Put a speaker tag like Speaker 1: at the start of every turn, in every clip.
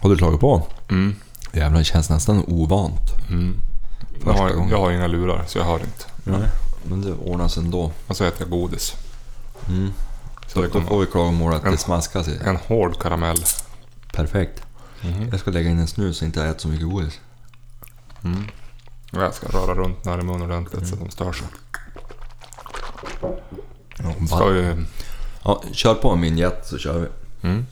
Speaker 1: Har du slagit på?
Speaker 2: Mm.
Speaker 1: Jävlar, det känns nästan ovant.
Speaker 2: Mm. Jag,
Speaker 1: Första
Speaker 2: har,
Speaker 1: gången.
Speaker 2: jag har inga lurar så jag hör inte.
Speaker 1: Nej. Men det ordnas ändå.
Speaker 2: Och så äter jag godis.
Speaker 1: Mm.
Speaker 2: Så
Speaker 1: Då,
Speaker 2: det
Speaker 1: då
Speaker 2: kommer
Speaker 1: får vi klagomål att det
Speaker 2: Ja.
Speaker 1: smaskas i.
Speaker 2: en hård karamell.
Speaker 1: Perfekt.
Speaker 2: Mm.
Speaker 1: Jag ska lägga in en snus så inte jag äter så mycket godis.
Speaker 2: Och jag ska röra runt den här i munnen ordentligt så att
Speaker 1: Mm.
Speaker 2: de stör sig. Ska ju...
Speaker 1: Ja, kör på min jet så kör vi.
Speaker 2: Mm.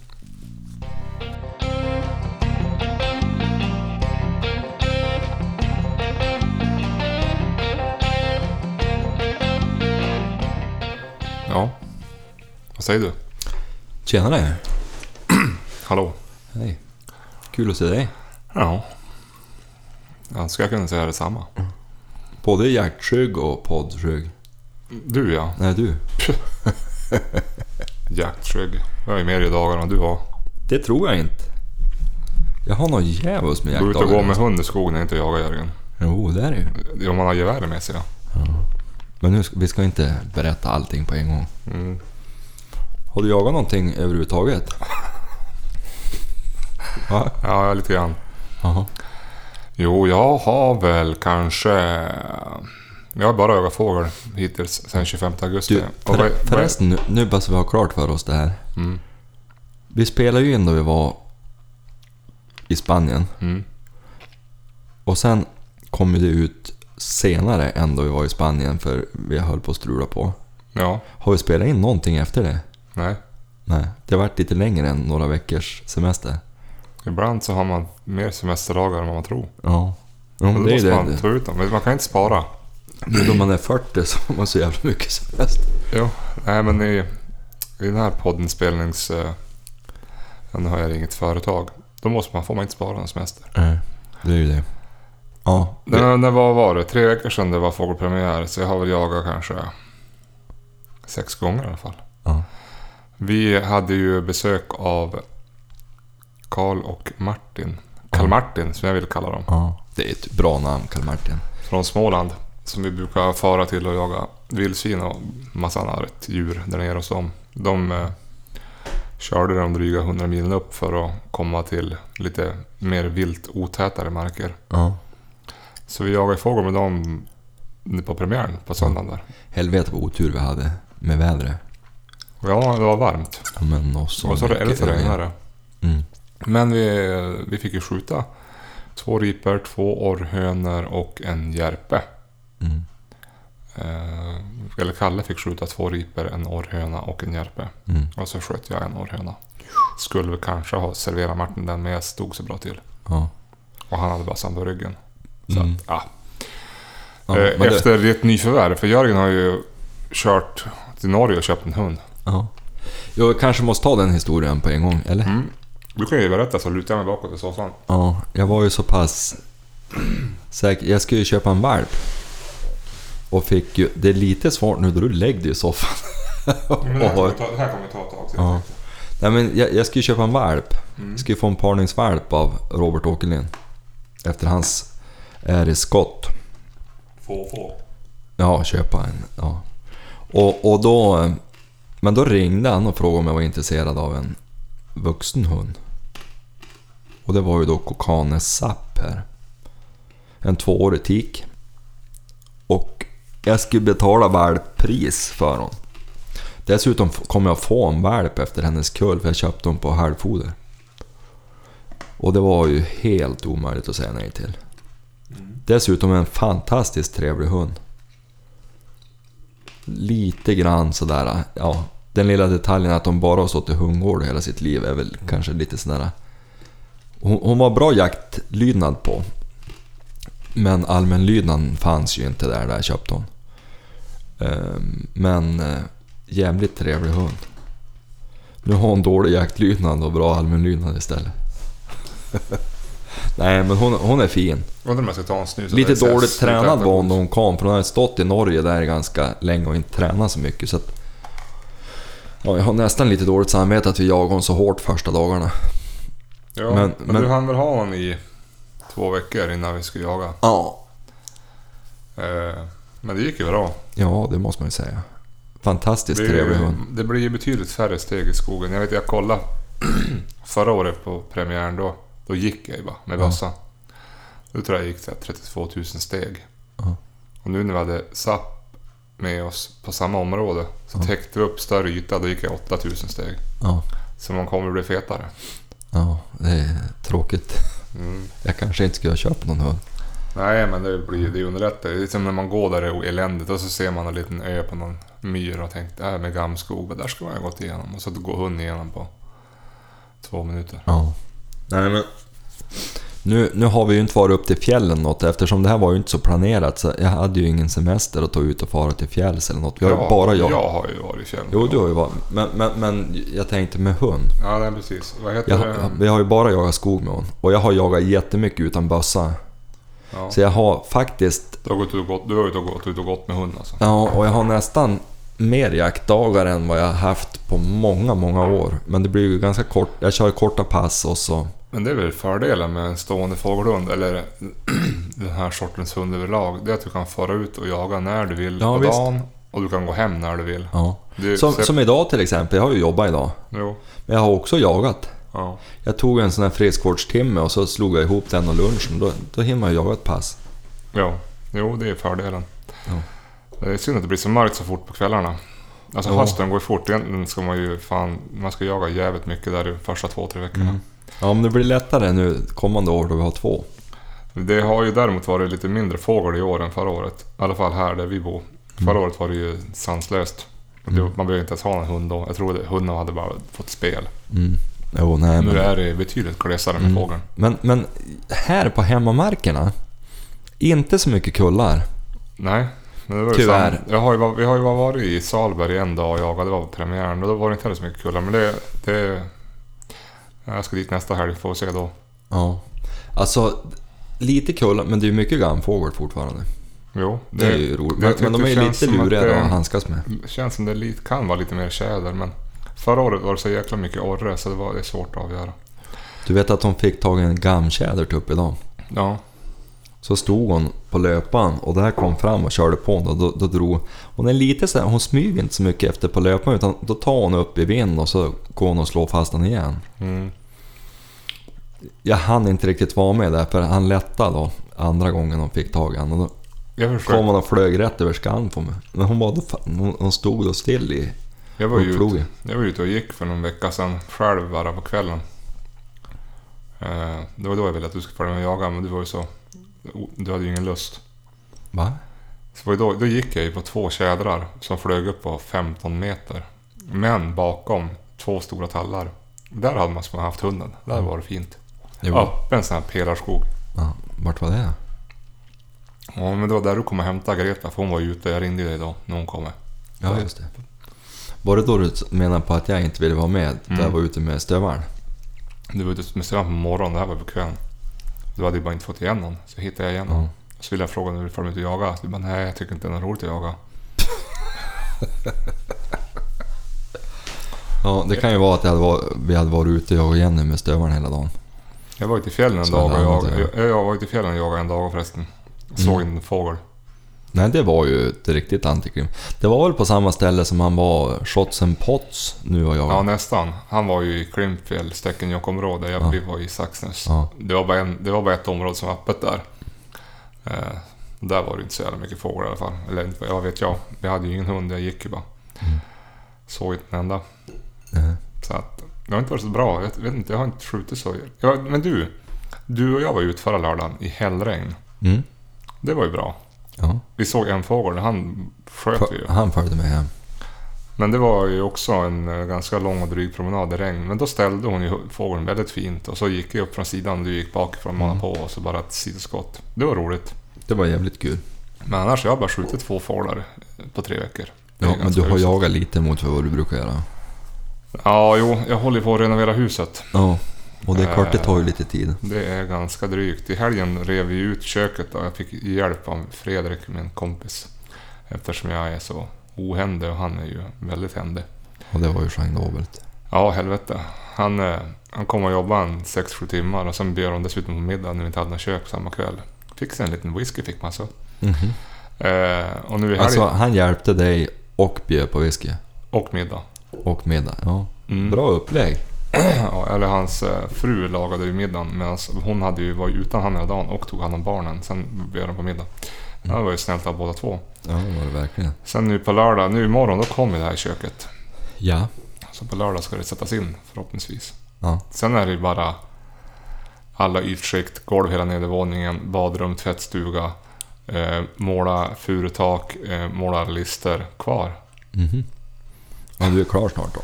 Speaker 2: Ja. Vad säger du?
Speaker 1: Tjenare!
Speaker 2: Hallå?
Speaker 1: Hej! Kul att se dig.
Speaker 2: Ja. Jag önskar jag kunde säga detsamma.
Speaker 1: Både jaktsug och poddskygg.
Speaker 2: Du ja.
Speaker 1: Nej, du.
Speaker 2: Jaktskägg. Jag är mer i dagarna än du var.
Speaker 1: Det tror jag inte. Jag har något djävulskt med
Speaker 2: Gå ut och gå
Speaker 1: jaktdagar.
Speaker 2: med hund i skogen är inte jaga Jörgen.
Speaker 1: Jo, det är det ju.
Speaker 2: Det är Om man har geväret med sig ja.
Speaker 1: Men nu, ska- vi ska inte berätta allting på en gång.
Speaker 2: Mm.
Speaker 1: Har du jagat någonting överhuvudtaget? Va?
Speaker 2: Ja, lite grann.
Speaker 1: Jaha.
Speaker 2: Jo, jag har väl kanske... Jag har bara jagat fågel hittills sedan 25 augusti.
Speaker 1: Du,
Speaker 2: Och vad-
Speaker 1: förre-
Speaker 2: vad-
Speaker 1: förresten, nu- nu bara så vi har klart för oss det här.
Speaker 2: Mm.
Speaker 1: Vi spelade ju in då vi var i Spanien.
Speaker 2: Mm.
Speaker 1: Och sen kom ju det ut senare än då vi var i Spanien för vi höll på att strula på.
Speaker 2: Ja,
Speaker 1: Har vi spelat in någonting efter det?
Speaker 2: nej.
Speaker 1: Nej, det har varit lite längre än några veckors semester.
Speaker 2: Ibland så har man mer semesterdagar än vad man tror.
Speaker 1: Ja. Jo,
Speaker 2: Och
Speaker 1: men
Speaker 2: då
Speaker 1: det är ju
Speaker 2: måste man
Speaker 1: det.
Speaker 2: ta ut dem. Men man kan inte spara.
Speaker 1: Nu då man är 40 så har man så jävla mycket semester.
Speaker 2: Jo, nej men i, i den här podden spelnings... eh, Nu har jag inget företag. Då måste man, får man inte spara någon semester.
Speaker 1: Nej, det är ju det. Ja.
Speaker 2: Det,
Speaker 1: Det,
Speaker 2: när var, var det? Tre veckor sedan det var fågelpremiär. Så jag har väl jagat kanske sex gånger i alla fall.
Speaker 1: ja.
Speaker 2: Vi hade ju besök av Karl och Martin. Karl Martin som jag vill kalla dem.
Speaker 1: ja. det är ett bra namn, Karl Martin.
Speaker 2: Från Småland. Som vi brukar fara till och jaga vildsvin och massa annat djur där nere hos dem. De eh, körde de dryga 100 milen upp för att komma till lite mer vilt otätare marker.
Speaker 1: Ja.
Speaker 2: Så vi jagade fågel med dem nu på premiären på söndagen där.
Speaker 1: Helvete vad otur vi hade med vädret.
Speaker 2: Och Ja, det var varmt.
Speaker 1: Ja, Men och så
Speaker 2: Och så
Speaker 1: mycket
Speaker 2: eller så
Speaker 1: det blev.
Speaker 2: regnade det.
Speaker 1: Mm.
Speaker 2: Men vi, vi fick ju skjuta två ripor, två orrhönor och en järpe.
Speaker 1: Mm.
Speaker 2: Eh, eller Kalle fick skjuta två ripor, en orrhöna och en järpe.
Speaker 1: Mm.
Speaker 2: Och så sköt jag en orrhöna. Skulle vi kanske ha serverat Martin den, men jag stod så bra till.
Speaker 1: Ja.
Speaker 2: Och han hade bassan på ryggen. Så
Speaker 1: Mm.
Speaker 2: att, ja.
Speaker 1: Ja,
Speaker 2: Eh,
Speaker 1: men det-
Speaker 2: Efter det... ett nyförvärv, för Jörgen har ju kört till Norge och köpt en hund.
Speaker 1: Ja. Jag kanske måste ta den historien på en gång, eller?
Speaker 2: Mm. Du kan ju berätta så lutar jag mig bakåt i soffan.
Speaker 1: Ja, jag var ju så pass säker. Jag skulle ju köpa en valp. Och fick ju... Det är lite svårt nu då du lägger dig i soffan.
Speaker 2: Men det, här
Speaker 1: Och
Speaker 2: kommer
Speaker 1: har-
Speaker 2: ta, det här kommer ta ett tag till.
Speaker 1: Ja. Nej men jag, jag skulle ju köpa en valp.
Speaker 2: Mm.
Speaker 1: Jag skulle få en parningsvalp av Robert Åkerlind. Efter hans Aries Scott.
Speaker 2: Få, få.
Speaker 1: Ja, köpa en. Ja. Och, och då... eh, Men då ringde han och frågade om jag var intresserad av en vuxen hund. Och det var ju då Kokane Zapp här. En tvåårig tik. Och jag skulle betala valppris för hon. Dessutom f- kommer jag få en valp efter hennes kull för jag köpte hon på halvfoder. Och det var ju helt omöjligt att säga nej till. Dessutom en fantastiskt trevlig hund lite grann sådär, ja. Den lilla detaljen att de bara har stått i hundgård hela sitt liv är väl kanske lite sådär... Hon, hon var bra jaktlydnad på. Men allmänlydnaden fanns ju inte där, där jag köpte hon. Ehm, Men eh, jävligt trevlig hund. Nu har hon dålig jaktlydnad och bra allmänlydnad istället. Nej men hon, hon är fin.
Speaker 2: Undrar om jag ska ta en snus.
Speaker 1: Lite
Speaker 2: eller så jag
Speaker 1: dåligt
Speaker 2: slutar
Speaker 1: tränad
Speaker 2: äta
Speaker 1: var hon
Speaker 2: godis.
Speaker 1: när hon kom, för hon hade stått i Norge där ganska länge och inte tränat så mycket. Så att, ja, jag har nästan lite dåligt samvete att vi jagade hon så hårt första dagarna.
Speaker 2: Ja, men,
Speaker 1: Men- men-
Speaker 2: du hann väl ha honom i två veckor innan vi skulle jaga.
Speaker 1: Ja.
Speaker 2: Eh, men det gick ju bra.
Speaker 1: Ja, det måste man ju säga. Fantastiskt
Speaker 2: Det,
Speaker 1: trevlig hund.
Speaker 2: det blir ju betydligt färre steg i skogen. Jag vet, jag kollade förra året på premiären då. Då gick jag ju bara med
Speaker 1: Ja.
Speaker 2: bössa. Då tror jag jag gick så här 32 000 steg.
Speaker 1: Ja.
Speaker 2: Och nu när vi hade SAP med oss på samma område så
Speaker 1: Ja.
Speaker 2: täckte vi upp större yta. Då gick jag 8 000 steg.
Speaker 1: Ja,
Speaker 2: Så man kommer att bli fetare.
Speaker 1: ja, det är tråkigt.
Speaker 2: Mm.
Speaker 1: Jag kanske inte skulle ha köpt någon hund.
Speaker 2: Nej, men det, blir, det underlättar. Det är som när man går där i eländet och så ser man en liten ö på någon myr och tänkt äh, med gamskog, men där skulle man ju ha gått igenom. Och så går hunden igenom på två minuter.
Speaker 1: Ja. Nej men... Nu, nu har vi ju inte varit upp till fjällen något eftersom det här var ju inte så planerat. Så jag hade ju ingen semester att ta ut och fara till fjälls eller något. Vi har ju
Speaker 2: Ja,
Speaker 1: bara jag.
Speaker 2: Jag har ju varit i fjällen.
Speaker 1: Jo, du har ju varit. Men, men, men jag tänkte med hund.
Speaker 2: Ja, nej, precis. Vad heter
Speaker 1: Jag,
Speaker 2: det?
Speaker 1: vi har ju bara jagat skog med hon. Och jag har jagat jättemycket utan bössa.
Speaker 2: Ja.
Speaker 1: Så jag har faktiskt...
Speaker 2: Du har gått ut och gått, du har ju då gått ut och gått med hund alltså.
Speaker 1: Ja, och jag har nästan mer jaktdagar än vad jag har haft på många, många år. Men det blir ju ganska kort. Jag kör korta pass och så...
Speaker 2: Men det är väl fördelen med en stående fågelhund, eller den här sortens hund överlag. Det är att du kan föra ut och jaga när du vill
Speaker 1: Ja,
Speaker 2: på
Speaker 1: visst.
Speaker 2: dagen. Och du kan gå hem när du vill.
Speaker 1: Ja.
Speaker 2: Du,
Speaker 1: Som,
Speaker 2: ser-
Speaker 1: som idag till exempel. Jag har ju jobbat idag.
Speaker 2: Jo,
Speaker 1: Men jag har också jagat.
Speaker 2: ja.
Speaker 1: Jag tog en sån här friskvårdstimme och så slog jag ihop den och lunchen. Då, då hinner man ju jaga ett pass.
Speaker 2: Ja, jo det är fördelen.
Speaker 1: Ja.
Speaker 2: Det är synd att det blir så mörkt så fort på kvällarna. Alltså
Speaker 1: Ja.
Speaker 2: hösten går ju fort. Egentligen ska man ju fan, man ska jaga jävligt mycket där de första två, tre veckorna.
Speaker 1: Mm. Ja, men det blir lättare nu kommande år då vi har två.
Speaker 2: Det har ju däremot varit lite mindre fågel i år än förra året. I alla fall här där vi bor. Förra året var det ju sanslöst. Det-
Speaker 1: Mm.
Speaker 2: Man behöver inte ens ha en hund då. Jag tror att hundarna hade bara fått spel.
Speaker 1: Mm. Jo, nej,
Speaker 2: nu
Speaker 1: men,
Speaker 2: är det betydligt glesare med
Speaker 1: Mm.
Speaker 2: fågeln.
Speaker 1: men, men här på hemmamarkerna, inte så mycket kullar.
Speaker 2: Nej. Men det var ju
Speaker 1: Tyvärr.
Speaker 2: sam- Jag har ju, var- vi har ju bara varit i Salberg en dag och jagade. Det var på premiären. Och då var det inte heller så mycket kullar. Men det... det jag ska dit nästa helg. Får vi se då.
Speaker 1: Ja. Alltså, lite kullar, men det är ju mycket gammfågel fortfarande.
Speaker 2: Jo.
Speaker 1: Det, är ju roligt.
Speaker 2: det- jag
Speaker 1: Men, men de
Speaker 2: tycker
Speaker 1: är ju
Speaker 2: det
Speaker 1: lite
Speaker 2: känns som att
Speaker 1: luriga
Speaker 2: det-
Speaker 1: att handskas med.
Speaker 2: Det känns som det li- kan vara lite mer tjäder. Men förra året var det så jäkla mycket orre. Så det var det är svårt att avgöra.
Speaker 1: Du vet att hon fick tag i en gammtjäder typ idag.
Speaker 2: Ja.
Speaker 1: Så stod hon på löpan och det här kom fram och körde på honom. Då, då drog hon är lite så här, hon smyger inte så mycket efter på löpan utan då tar hon upp i vinden och så går hon och slår fast den igen.
Speaker 2: Mm.
Speaker 1: Jag hann inte riktigt vara med där för han lättade då andra gången hon fick tag i honom. Och Då
Speaker 2: Jag försökte.
Speaker 1: kom hon och flög rätt över skallen på mig. Men hon, var då, fa- hon, hon stod då still i...
Speaker 2: Jag var, ju
Speaker 1: Och plog.
Speaker 2: ute, jag var ute och gick för någon vecka sedan själv bara på kvällen. Eh, Det var då jag ville att du skulle följa med och jaga men du var ju så... Du hade ju ingen lust.
Speaker 1: Va?
Speaker 2: Så var ju då, då gick jag ju på två tjädrar som flög upp på 15 meter. Men bakom två stora tallar. Där hade man som haft hunden. Där var det fint.
Speaker 1: Mm. Det var,
Speaker 2: Öppen sån här pelarskog.
Speaker 1: ja. Vart var det?
Speaker 2: Ja, men det var där du kom och hämtade Greta för hon var ju ute. Jag ringde dig då när hon kom.
Speaker 1: Ja, just det. Var det då du menar på att jag inte ville vara med? Där jag
Speaker 2: Mm.
Speaker 1: var ute med stövaren?
Speaker 2: Du var ute med Stefan på morgonen. Det här var på kvällen. Du hade ju bara inte fått igen någon. Så hittade jag igen honom.
Speaker 1: Ja.
Speaker 2: Så ville jag fråga om du vill följa med ut och jaga. Du bara, nej jag tycker inte det är något roligt att jaga.
Speaker 1: Ja, det kan ju vara att jag hade var, vi hade varit ute jag och Jenny med stövaren hela dagen.
Speaker 2: Jag var ute i fjällen en
Speaker 1: Så
Speaker 2: dag och
Speaker 1: alla andra
Speaker 2: jag,
Speaker 1: gör.
Speaker 2: jag, jag var ute i fjällen och jagade en dag förresten. Såg
Speaker 1: Mm.
Speaker 2: en fågel.
Speaker 1: Nej, det var ju ett riktigt antikrim. Det var väl på samma ställe som han var Shots and Pots nu och jag.
Speaker 2: Ja nästan. Han var ju i Klimpfjäll, Stekenjokkområdet. Jag
Speaker 1: Ja.
Speaker 2: vi var i Saxnäs.
Speaker 1: Ja.
Speaker 2: Det, var bara en, det var bara ett område som var öppet där. Eh, där var det inte så jävla mycket fåglar i alla fall. Eller inte- vad vet jag. Vi hade ju ingen hund, jag gick ju bara. Såg inte en enda.
Speaker 1: Nej.
Speaker 2: Så att, det har inte varit så bra. Jag vet inte, jag har inte skjutit så. Ja, men du. Du och jag var ju ute förra lördagen i hällregn.
Speaker 1: Mm.
Speaker 2: Det var ju bra.
Speaker 1: Ja.
Speaker 2: Vi såg en fågel, han sköt vi ju.
Speaker 1: För, han följde med hem.
Speaker 2: Men det var ju också en eh, ganska lång och dryg promenad i regn. Men då ställde hon ju fågeln väldigt fint och så gick jag upp från sidan och du gick bakifrån och
Speaker 1: Mm.
Speaker 2: manade på och så bara ett sidoskott. Det var roligt.
Speaker 1: Det var jävligt kul.
Speaker 2: Men annars har jag bara skjutit två fåglar på tre veckor. Det är
Speaker 1: Ja, men
Speaker 2: ganska
Speaker 1: du har
Speaker 2: uselt.
Speaker 1: jagat lite mot vad du brukar göra.
Speaker 2: Ja, jo, jag håller på att renovera huset.
Speaker 1: Ja, och det är klart det
Speaker 2: Eh.
Speaker 1: tar ju lite tid.
Speaker 2: Det är ganska drygt. I helgen rev vi ut köket och jag fick hjälp av Fredrik, min kompis. Eftersom jag är så ohändig och han är ju väldigt händig.
Speaker 1: Och det var ju genrobelt.
Speaker 2: Ja, helvete. Han, eh, han kom och jobbade en 6-7 timmar och sen bjöd de dessutom på middag när vi inte hade något kök samma kväll. Fick sig en liten whisky fick man så.
Speaker 1: Mhm.
Speaker 2: Eh, och nu i helgen...
Speaker 1: Alltså, han hjälpte dig och bjöd på whisky.
Speaker 2: Och middag.
Speaker 1: Och middag. Ja.
Speaker 2: Mm.
Speaker 1: Bra upplägg.
Speaker 2: Ja, eller hans eh, fru lagade ju middagen medan hon hade ju, var ju utan han hela dagen och tog hand om barnen. Sen bjöd de på middag. Det var ju snällt av båda två.
Speaker 1: Ja, det var det verkligen.
Speaker 2: Sen nu på lördag, nu imorgon, då kommer det här köket.
Speaker 1: Ja.
Speaker 2: Så på lördag ska det sättas in förhoppningsvis.
Speaker 1: Ja.
Speaker 2: Sen är det ju bara alla ytskikt, golv hela nedervåningen, badrum, tvättstuga, eh, måla furutak, eh, måla lister kvar.
Speaker 1: Mhm. Ja, du är klar snart då?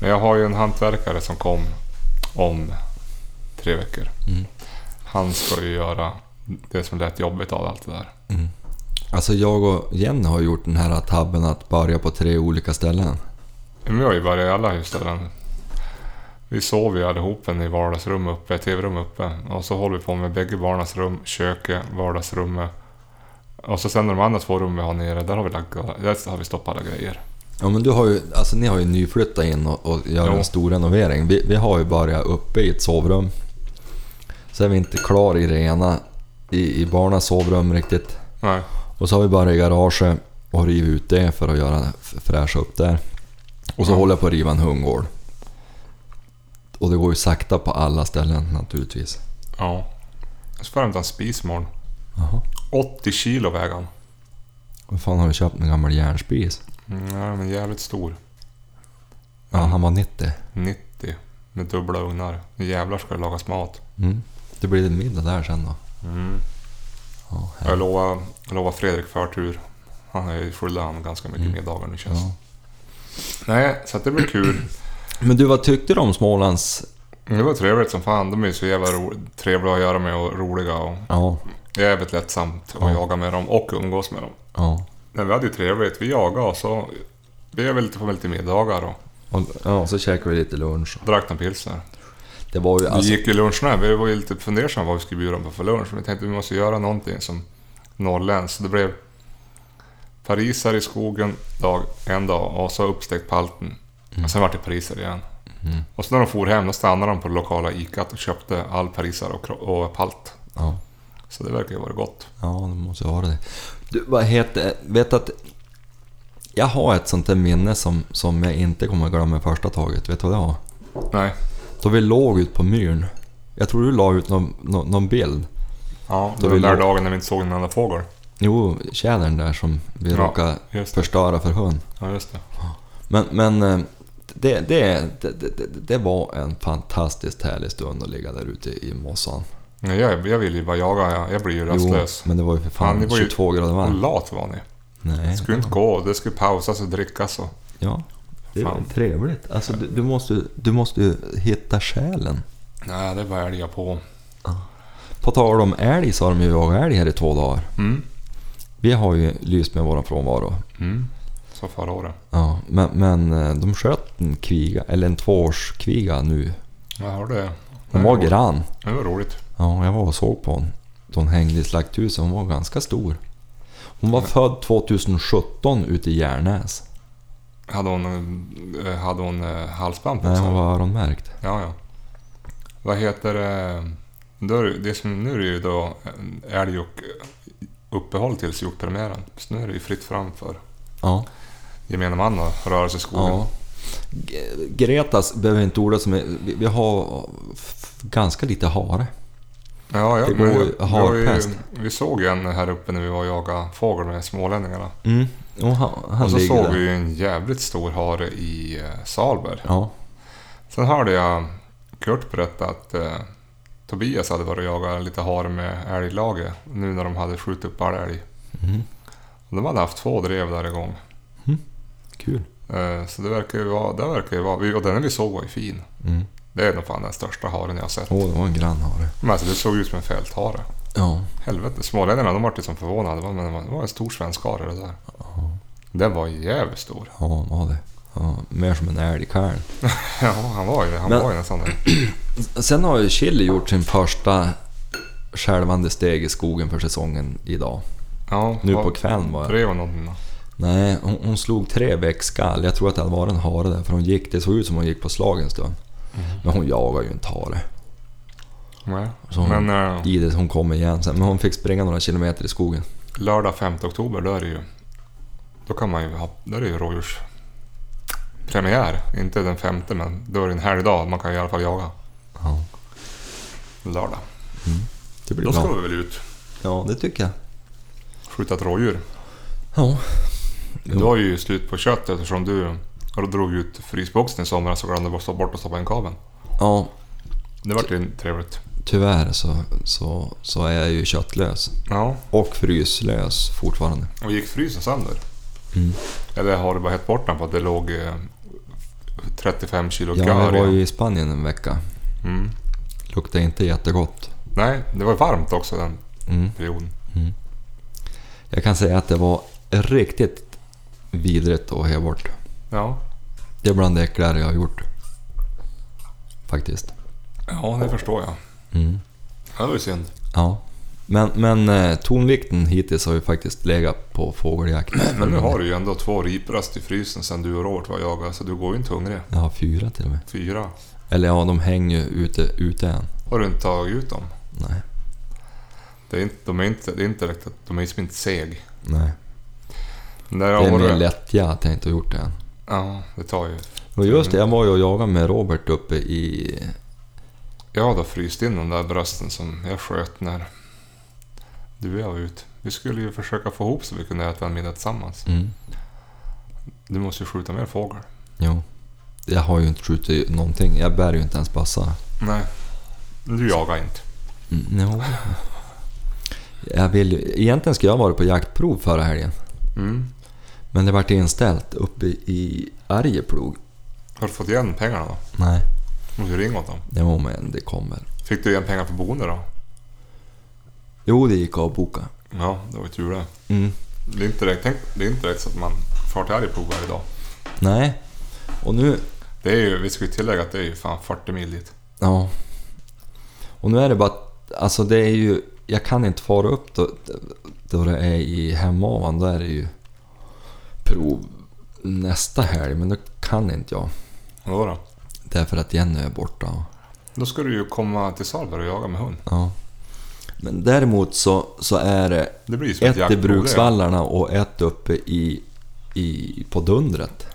Speaker 2: Men jag har ju en hantverkare som kom om tre veckor.
Speaker 1: Mm.
Speaker 2: Han ska ju göra det som lät jobbigt av allt det där.
Speaker 1: Alltså jag och Jenny har gjort den här tabben att börja på tre olika ställen.
Speaker 2: Men vi har ju varit i alla husställen. Vi sov ju allihop i vardagsrum uppe, tv-rum uppe. Och så håller vi på med bägge barnens rum, köket, vardagsrummet. Och så sen de andra två rummen vi har nere, där har vi, lagt, där har vi stoppat alla grejer.
Speaker 1: Ja men du har ju, alltså ni har ju nyflyttat in och, och gör
Speaker 2: Ja.
Speaker 1: en stor renovering. Vi, vi har ju börjat uppe i ett sovrum. Så är vi inte klar i det ena, i, i barnas sovrum riktigt.
Speaker 2: Nej,
Speaker 1: Och så har vi börjat i garaget och rivit ut det för att göra f- fräscha upp där. Och så
Speaker 2: Ja.
Speaker 1: håller jag på att riva en hundgård. Och det går ju sakta på alla ställen naturligtvis.
Speaker 2: ja. Så får jag hämta en spis imorgon.
Speaker 1: Jaha.
Speaker 2: 80 kilo väger han.
Speaker 1: Vad fan har du köpt en gammal järnspis?
Speaker 2: Nej, Mm, men jävligt stor.
Speaker 1: Ja, han var 90.
Speaker 2: 90 med dubbla ugnar. Nu jävlar ska det lagas mat.
Speaker 1: Mm. Det blir en middag där sen då.
Speaker 2: Mm.
Speaker 1: Ja, här-
Speaker 2: Jag lovar, jag lovar Fredrik förtur. Han är ju full han ganska mycket middagar nu känns det.
Speaker 1: Mm. ja.
Speaker 2: Nej, så att det blir kul.
Speaker 1: Men du, vad tyckte du om Smålands...
Speaker 2: Det var trevligt som fan. De är ju så jävla ro- trevliga att göra med och roliga och
Speaker 1: Ja,
Speaker 2: jävligt lättsamt att
Speaker 1: Ja.
Speaker 2: jaga med dem och umgås med dem.
Speaker 1: ja.
Speaker 2: Nej, vi hade ju trevligt. Vi jagade och så blev vi lite på lite middagar och
Speaker 1: Och, ja, så käkade vi lite lunch.
Speaker 2: drack en pilsner.
Speaker 1: Det var ju alltså...
Speaker 2: Vi gick ju luncherna. Vi var ju lite fundersamma vad vi skulle bjuda dem på för lunch. Men vi tänkte vi måste göra någonting som norrländskt. Så det blev pariser i skogen dag, en dag och så uppstekt palten. Och sen vart det pariser igen.
Speaker 1: Mm.
Speaker 2: Och sen när de for hem då stannade de på det lokala Icat och köpte all pariser och, kro- och palt.
Speaker 1: Ja,
Speaker 2: Så det verkar ju vara gott.
Speaker 1: ja det måste vara det. Du, vad heter... Vet att... Jag har ett sånt där minne som, som jag inte kommer glömma i första taget. Vet du vad det var?
Speaker 2: Nej.
Speaker 1: Då vi låg ut på myren. Jag tror du la ut någon, någon, någon bild.
Speaker 2: Ja,
Speaker 1: Då
Speaker 2: den
Speaker 1: vill
Speaker 2: där
Speaker 1: du-
Speaker 2: dagen när vi inte såg en enda fågel.
Speaker 1: Jo, tjädern där som vi
Speaker 2: Ja.
Speaker 1: råkade
Speaker 2: Just det.
Speaker 1: förstöra för hund.
Speaker 2: Ja, just det.
Speaker 1: Men, men eh, det, det, det, det, det var en fantastiskt härlig stund att ligga där ute i mossan.
Speaker 2: Nej, jag, jag vill ju bara jaga. Jag, jag blir ju rastlös.
Speaker 1: men det var ju för fan
Speaker 2: Fan, det var ju-
Speaker 1: 22 grader
Speaker 2: Och
Speaker 1: varmt.
Speaker 2: lat var ni. Det
Speaker 1: Nej.
Speaker 2: skulle inte gå. Det skulle pausas och drickas och...
Speaker 1: Ja. Det är
Speaker 2: Fan.
Speaker 1: väl trevligt. Alltså, du, du, måste, du måste ju hitta själen.
Speaker 2: Nej, det är bara älgar på.
Speaker 1: På tal om älg så har de ju jagat älg här i två dagar.
Speaker 2: Mm.
Speaker 1: Vi har ju lyst med vår frånvaro.
Speaker 2: Mm. Så förra året.
Speaker 1: Ja, men, men eh, de sköt en kviga, eller en tvåårskviga nu.
Speaker 2: Jag hörde det.
Speaker 1: Hon
Speaker 2: Det
Speaker 1: var grann.
Speaker 2: Det var roligt.
Speaker 1: Ja, jag var och såg på hon. Då hon hängde i slakthuset. Hon var ganska stor. Hon var född 2017 ute i Järnäs.
Speaker 2: Hade hon, eh, hade hon eh, halsband på
Speaker 1: Nej,
Speaker 2: sig?
Speaker 1: hon var öronmärkt.
Speaker 2: Ja, ja. Vad heter det? Då är det, det som, nu är det ju då en älg och eh, uppehåll tills hjortpremiären. Så nu är det ju fritt fram för
Speaker 1: Ja.
Speaker 2: gemene man att röra sig i skogen.
Speaker 1: ja. G- Gretas behöver inte orda som är, vi, vi har f- ganska lite hare.
Speaker 2: Ja, ja,
Speaker 1: Det
Speaker 2: men
Speaker 1: går
Speaker 2: vi-
Speaker 1: harpest.
Speaker 2: vi, vi såg ju en här uppe när vi var och jagade fågel med smålänningarna.
Speaker 1: Mm. Och han, han
Speaker 2: och så
Speaker 1: ligger
Speaker 2: såg
Speaker 1: där.
Speaker 2: vi ju en jävligt stor hare i eh, Salberg.
Speaker 1: Ja.
Speaker 2: Sen hörde jag Kurt berätta att eh, Tobias hade varit och jagat lite hare med älglaget nu när de hade skjutit upp all älg.
Speaker 1: Mm.
Speaker 2: Och de hade haft två drev där igång.
Speaker 1: Kul.
Speaker 2: Eh, så det verkar ju vara... Det verkar ju vara vi- och den vi såg var ju fin.
Speaker 1: Mm.
Speaker 2: Det är nog fan den största haren jag har sett.
Speaker 1: Åh, det var en grann hare.
Speaker 2: Men alltså det såg ut som en fälthare.
Speaker 1: Ja.
Speaker 2: Helvete, smålänningarna de vart ju som förvånade. Men det var- det var en stor svensk hare det där. Den var jävligt stor.
Speaker 1: Ja, hon var det. Ja, mer som en älgkalv.
Speaker 2: Ja, han var ju det. Han
Speaker 1: Men-
Speaker 2: var ju nästan det.
Speaker 1: Sen har ju Chili gjort sin första skälvande steg i skogen för säsongen idag.
Speaker 2: Ja,
Speaker 1: Nu
Speaker 2: vad-
Speaker 1: på kvällen var det.
Speaker 2: Drev hon någonting då?
Speaker 1: Nej, hon, hon slog tre väckskall. Jag tror att det hade varit en hare där, för hon gick, det såg ut som hon gick på slag en stund. Men hon jagar ju inte hare.
Speaker 2: Nej.
Speaker 1: Så hon-
Speaker 2: Men eh,
Speaker 1: I det, hon kom igen sen. Men hon fick springa några kilometer i skogen.
Speaker 2: lördag 5 oktober, då är det ju... Då kan man ju ha... Då är det ju rådjurs... premiär. Inte den femte, men då är det en helgdag. Man kan i alla fall jaga
Speaker 1: Ja,
Speaker 2: lördag.
Speaker 1: det blir
Speaker 2: Då ska
Speaker 1: bra.
Speaker 2: vi väl ut
Speaker 1: Ja, det tycker jag.
Speaker 2: skjuta ett rådjur.
Speaker 1: Ja.
Speaker 2: Du har ju slut på kött eftersom du du drog ut frysboxen i somras och glömde bara bort att stoppa in kabeln.
Speaker 1: Ja,
Speaker 2: Det vart ju trevligt.
Speaker 1: tyvärr så, så, så är jag ju köttlös.
Speaker 2: Ja.
Speaker 1: Och fryslös fortfarande.
Speaker 2: Och gick frysen sönder?
Speaker 1: Mm.
Speaker 2: Eller har du bara hett bort den för att det låg eh, 35 kilo
Speaker 1: Ja,
Speaker 2: gör
Speaker 1: jag var
Speaker 2: i?
Speaker 1: ju i Spanien en vecka.
Speaker 2: Mm.
Speaker 1: Luktade inte jättegott.
Speaker 2: Nej, det var ju varmt också den
Speaker 1: Mm.
Speaker 2: perioden.
Speaker 1: Jag kan säga att det var riktigt vidrigt att hea bort.
Speaker 2: Ja,
Speaker 1: Det är bland det äckligare jag har gjort. Faktiskt.
Speaker 2: ja det förstår jag.
Speaker 1: Mm.
Speaker 2: Ja, Det var ju synd.
Speaker 1: Ja. Men, men eh, tonvikten hittills har ju faktiskt legat på fågeljakt.
Speaker 2: Men nu har du ju ändå två riprast i frysen sen du och Robert var och jagade, så du går ju inte hungrig.
Speaker 1: Jag har fyra till och med.
Speaker 2: Fyra.
Speaker 1: Eller ja, de hänger ju ute, ute än.
Speaker 2: Har du inte tagit ut dem?
Speaker 1: Nej.
Speaker 2: Det är inte, de är inte, det är inte direkt att de är liksom inte seg.
Speaker 1: Nej.
Speaker 2: När
Speaker 1: Det är
Speaker 2: har
Speaker 1: min
Speaker 2: du...
Speaker 1: lättja att jag inte har gjort det än.
Speaker 2: Ja, det tar ju...
Speaker 1: Och just det, jag var ju och jagade med Robert uppe i...
Speaker 2: Jag har då fryst in de där brösten som jag sköt när du och jag var ut. Vi skulle ju försöka få ihop så vi kunde äta en middag tillsammans.
Speaker 1: Mm.
Speaker 2: Du måste ju skjuta mer fågel.
Speaker 1: Jo. Jag har ju inte skjutit någonting. Jag bär ju inte ens bassa.
Speaker 2: Nej. Du jagar inte.
Speaker 1: Mm, jo. Jag vill ju- Egentligen skulle jag ha varit på jaktprov förra helgen.
Speaker 2: Mm.
Speaker 1: Men det vart inställt uppe i Arjeplog.
Speaker 2: Har du fått igen pengarna då?
Speaker 1: Nej.
Speaker 2: Måste du ringa åt dem.
Speaker 1: Jo men det kommer.
Speaker 2: Fick du igen pengar för boende då?
Speaker 1: Jo det gick att boka.
Speaker 2: Ja, det var ju tur det.
Speaker 1: Mm.
Speaker 2: Det är inte direkt, tänk, det är inte direkt så att man far till Arjeplog varje dag.
Speaker 1: Nej. Och nu...
Speaker 2: Det är ju, vi ska ju tillägga att det är ju fan 40 mil dit.
Speaker 1: Ja. Och nu är det bara... att- Alltså det är ju... Jag kan inte fara upp då, då det är i Hemavan. Då är det ju prov nästa helg. Men då kan inte jag.
Speaker 2: Vadå då?
Speaker 1: Därför att Jenny är borta. och-
Speaker 2: Då ska du ju komma till Salberg och jaga med hund.
Speaker 1: Ja. Men däremot så, så är det
Speaker 2: Det blir ju som ett,
Speaker 1: ett i
Speaker 2: jaktprov det.
Speaker 1: Bruksvallarna och ett uppe i, i, på Dundret.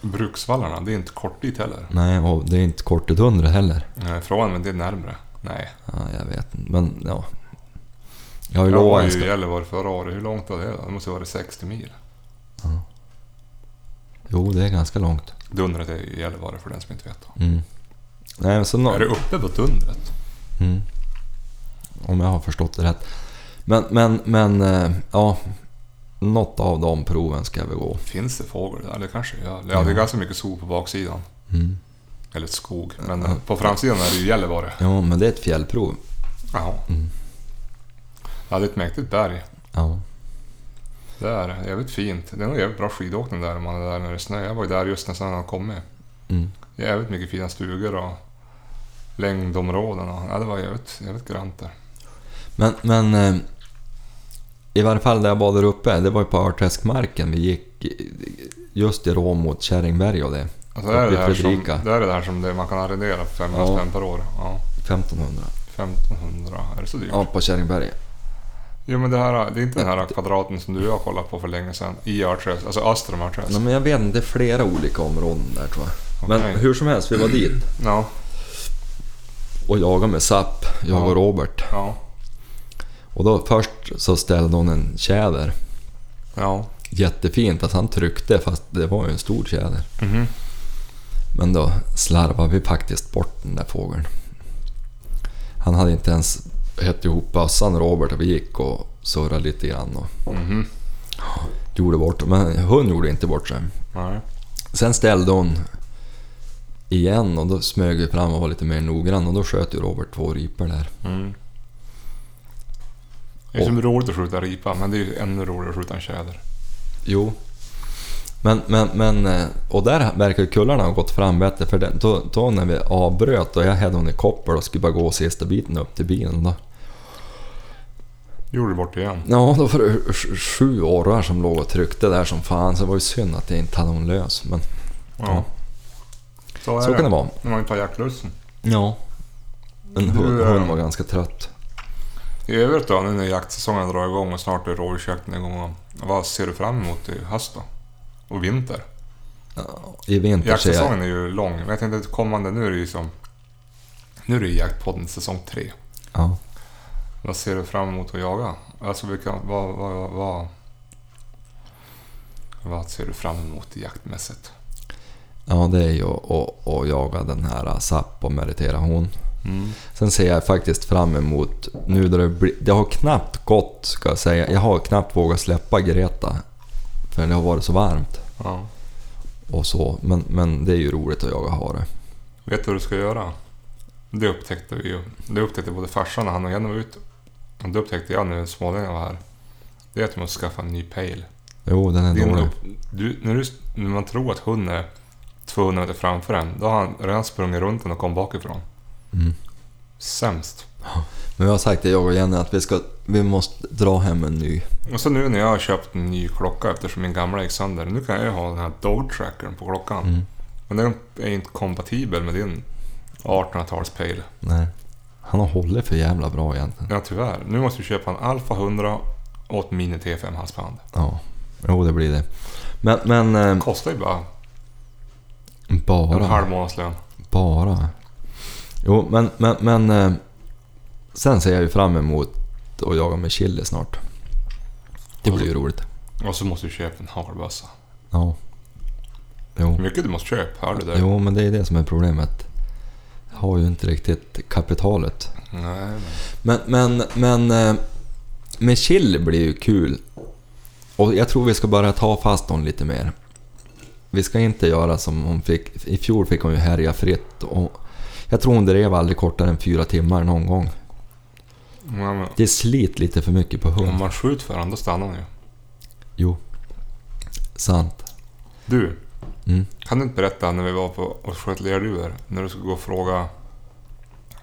Speaker 2: Bruksvallarna, det är inte kort dit heller.
Speaker 1: Nej, och det är inte kort till Dundret heller.
Speaker 2: Nej, Frågan men det är närmre. Nej.
Speaker 1: Ja, jag vet inte, men ja. Jag har ju
Speaker 2: Jag var
Speaker 1: lovat
Speaker 2: ju
Speaker 1: jag
Speaker 2: i
Speaker 1: ska...
Speaker 2: Gällivare förra året. Hur långt var det då? Det måste ha varit 60 mil.
Speaker 1: Jo, det är ganska långt.
Speaker 2: Dundret är ju Gällivare för den som inte vet. Då.
Speaker 1: Mm. Nej, men så nå...
Speaker 2: Är det uppe på Dundret?
Speaker 1: mm. Om jag har förstått det rätt. Men, men, men, eh, ja. Något av de proven ska vi gå.
Speaker 2: Finns det fågel där? Det kanske det gör. Ja, det är
Speaker 1: Ja.
Speaker 2: ganska mycket skog på baksidan.
Speaker 1: Mm.
Speaker 2: Eller skog. Men eh, på framsidan är det ju Gällivare.
Speaker 1: Jo, men det är ett fjällprov.
Speaker 2: Ja.
Speaker 1: Mm.
Speaker 2: Ja, det är ett mäktigt berg.
Speaker 1: Ja.
Speaker 2: Det är jävligt fint. Det är nog jävligt bra skidåkning där om man är där när det snöar. Jag var ju där just när snön hade kommit.
Speaker 1: Mm.
Speaker 2: Jävligt mycket fina stugor och längdområden. Och, ja, det var jävligt, jävligt grant där.
Speaker 1: Men, men eh, i varje fall där jag var där uppe, det var ju på Örträskmarken vi gick eh, just i rå mot Kärringberg och det.
Speaker 2: Alltså, det, är
Speaker 1: Uppe i
Speaker 2: det, här som,
Speaker 1: Fredrika.
Speaker 2: det är det här som det, man kan arrendera för 500
Speaker 1: Ja.
Speaker 2: spänn per år. Ja,
Speaker 1: 1500.
Speaker 2: 1500, är det så dyrt?
Speaker 1: Ja, på Kärringberg.
Speaker 2: Jo men det här, det är inte den här kvadraten som du och jag kollade på för länge sedan. I Örträsk, alltså öster om Örträsk.
Speaker 1: Ja, men jag vet inte, det är flera olika områden där tror jag. Men
Speaker 2: Okej.
Speaker 1: hur som helst, vi var dit
Speaker 2: Ja,
Speaker 1: och jagade med Zapp, jag
Speaker 2: Ja.
Speaker 1: och Robert.
Speaker 2: ja,
Speaker 1: Och då först så ställde hon en tjäder.
Speaker 2: ja.
Speaker 1: Jättefint att han tryckte fast det var ju en stor tjäder.
Speaker 2: Mhm.
Speaker 1: Men då slarvade vi faktiskt bort den där fågeln. Han hade inte ens hett ihop bössan Robert och vi gick och surrade lite grann och
Speaker 2: Mhm.
Speaker 1: gjorde bort Men hon gjorde inte bort sig.
Speaker 2: Nej.
Speaker 1: Sen ställde hon igen och då smög vi fram och var lite mer noggrann och då sköt ju Robert två ripor där.
Speaker 2: Mm. Det är som roligt att skjuta ripa, men det är ju ännu roligare att skjuta en tjäder.
Speaker 1: Jo. Men, men, men, eh, och där verkar ju kullarna ha gått fram bättre för den, då, då när vi avbröt och jag hade hon i koppel och skulle bara gå sista biten upp till bilen då.
Speaker 2: Gjorde du bort det igen?
Speaker 1: Ja, då var det sj- sju orrar som låg och tryckte där som fan så det var ju synd att jag inte hade hon lös men Ja.
Speaker 2: Så, är
Speaker 1: så kan det vara.
Speaker 2: När man inte har jaktlusten.
Speaker 1: Ja. Men hon,
Speaker 2: Du, eh,
Speaker 1: hon var ganska trött.
Speaker 2: I övrigt då, nu när jaktsäsongen drar igång och snart är rådjursjakten igång. Vad ser du fram emot i höst då? Och vinter?
Speaker 1: I vinter ser jag...
Speaker 2: Jaktsäsongen är ju lång. Men jag tänkte att kommande, nu är det ju som... Nu är det ju Jaktpodden säsong tre.
Speaker 1: Ja.
Speaker 2: Vad ser du fram emot att jaga? Alltså vilka, vad, vad, vad, vad... Vad ser du fram emot jaktmässigt?
Speaker 1: ja, det är ju att- att att jaga den här Zapp och meritera hon. Sen ser jag faktiskt fram emot, nu när det blir, det har knappt gått ska jag säga, jag har knappt vågat släppa Greta. För det har varit så varmt
Speaker 2: Ja.
Speaker 1: och så. Men, men det är ju roligt att jaga hare.
Speaker 2: Vet du vad du ska göra? Det upptäckte vi ju. Det upptäckte både farsan och han och Jenny var ute. Och det upptäckte jag när smålänningarna var här. Det är att du måste skaffa en ny pejl.
Speaker 1: Jo, den är
Speaker 2: Din
Speaker 1: dålig.
Speaker 2: upp- Du, när, du, när man tror att hunden är 200 meter framför en, då har han redan sprungit runt den och kom bakifrån.
Speaker 1: Mm.
Speaker 2: Sämst.
Speaker 1: Men jag har sagt det jag och Jenny att vi, ska, vi måste dra hem en ny.
Speaker 2: Och så nu när jag har köpt en ny klocka eftersom min gamla gick sönder. Nu kan jag ju ha den här dog trackern på klockan.
Speaker 1: Mm.
Speaker 2: Men den är ju inte kompatibel med din 1800-talspejl.
Speaker 1: Nej. Han har hållit för jävla bra egentligen.
Speaker 2: Ja tyvärr. Nu måste du köpa en Alfa 100 och ett Mini T5 halsband.
Speaker 1: Ja. Jo, det blir det. Men, men eh,
Speaker 2: Kostar ju bara en
Speaker 1: bara...
Speaker 2: halv månadslön.
Speaker 1: Bara? Jo, men, men, men... eh, Sen ser jag ju fram emot att jaga med chili snart. Det blir ju roligt.
Speaker 2: Och så måste du köpa en hagelbössa.
Speaker 1: Ja. Jo.
Speaker 2: Hur mycket du måste köpa, hör du det?
Speaker 1: jo, men det är det som är problemet. Jag har ju inte riktigt kapitalet.
Speaker 2: Nej, men.
Speaker 1: Men, men, men... eh, Med chili blir ju kul. Och jag tror vi ska börja ta fast hon lite mer. Vi ska inte göra som hon fick... I fjol fick hon ju härja fritt. Och jag tror hon drev aldrig kortare än fyra timmar någon gång.
Speaker 2: Ja, men
Speaker 1: Det sliter lite för mycket på hund.
Speaker 2: om man skjuter för honom, då stannar han ju.
Speaker 1: Jo. Sant.
Speaker 2: Du,
Speaker 1: Mm.
Speaker 2: kan du inte berätta när vi var på och sköt lerduvor, när du skulle gå och fråga